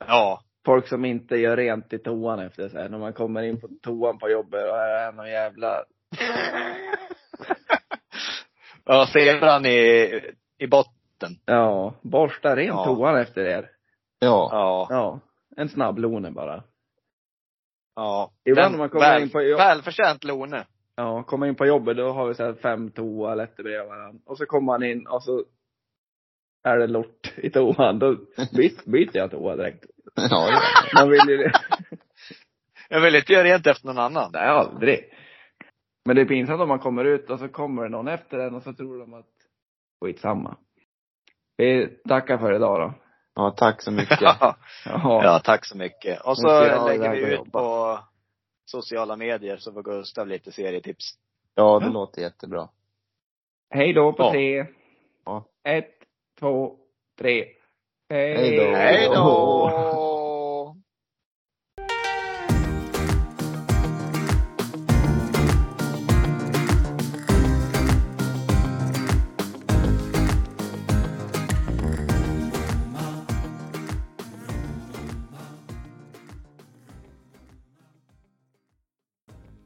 [SPEAKER 2] Ja.
[SPEAKER 3] Folk som inte gör rent i toan efter sig. När man kommer in på toan på jobbet och här är
[SPEAKER 2] [LAUGHS]
[SPEAKER 3] någon jävla
[SPEAKER 2] Ja, zebran i, i botten.
[SPEAKER 3] Ja, borsta rent
[SPEAKER 2] Ja.
[SPEAKER 3] toan efter er.
[SPEAKER 4] Ja.
[SPEAKER 2] Ja.
[SPEAKER 3] Ja. En snabb lone bara.
[SPEAKER 2] ja.
[SPEAKER 3] Ibland när man kommer
[SPEAKER 2] väl,
[SPEAKER 3] in på jobb-
[SPEAKER 2] Välförtjänt lone.
[SPEAKER 3] Ja, kommer in på jobbet då har vi så här fem toaletter bredvid varandra. Och så kommer man in och så är det lort i toan, då byt- byter jag toa direkt.
[SPEAKER 4] Ja, ja.
[SPEAKER 3] Man vill ju
[SPEAKER 2] Jag vill inte göra rent efter någon annan.
[SPEAKER 3] Nej, aldrig. Men det är pinsamt om man kommer ut och så kommer det någon efter en och så tror de att skitsamma. Vi tackar för idag då.
[SPEAKER 4] ja tack så mycket.
[SPEAKER 2] Ja.
[SPEAKER 3] Ja.
[SPEAKER 2] [LAUGHS] ja, tack så mycket. Och så
[SPEAKER 3] Vi ser
[SPEAKER 2] lägger
[SPEAKER 3] alla
[SPEAKER 2] vi
[SPEAKER 3] där
[SPEAKER 2] ut
[SPEAKER 3] jobba.
[SPEAKER 2] på sociala medier så får Gustav lite serietips.
[SPEAKER 4] Ja, det låter jättebra.
[SPEAKER 3] Hej då på
[SPEAKER 2] Ja.
[SPEAKER 3] tre.
[SPEAKER 4] Ja.
[SPEAKER 3] Ett, två, tre.
[SPEAKER 4] Hej då.
[SPEAKER 2] Hej då!
[SPEAKER 3] [LAUGHS]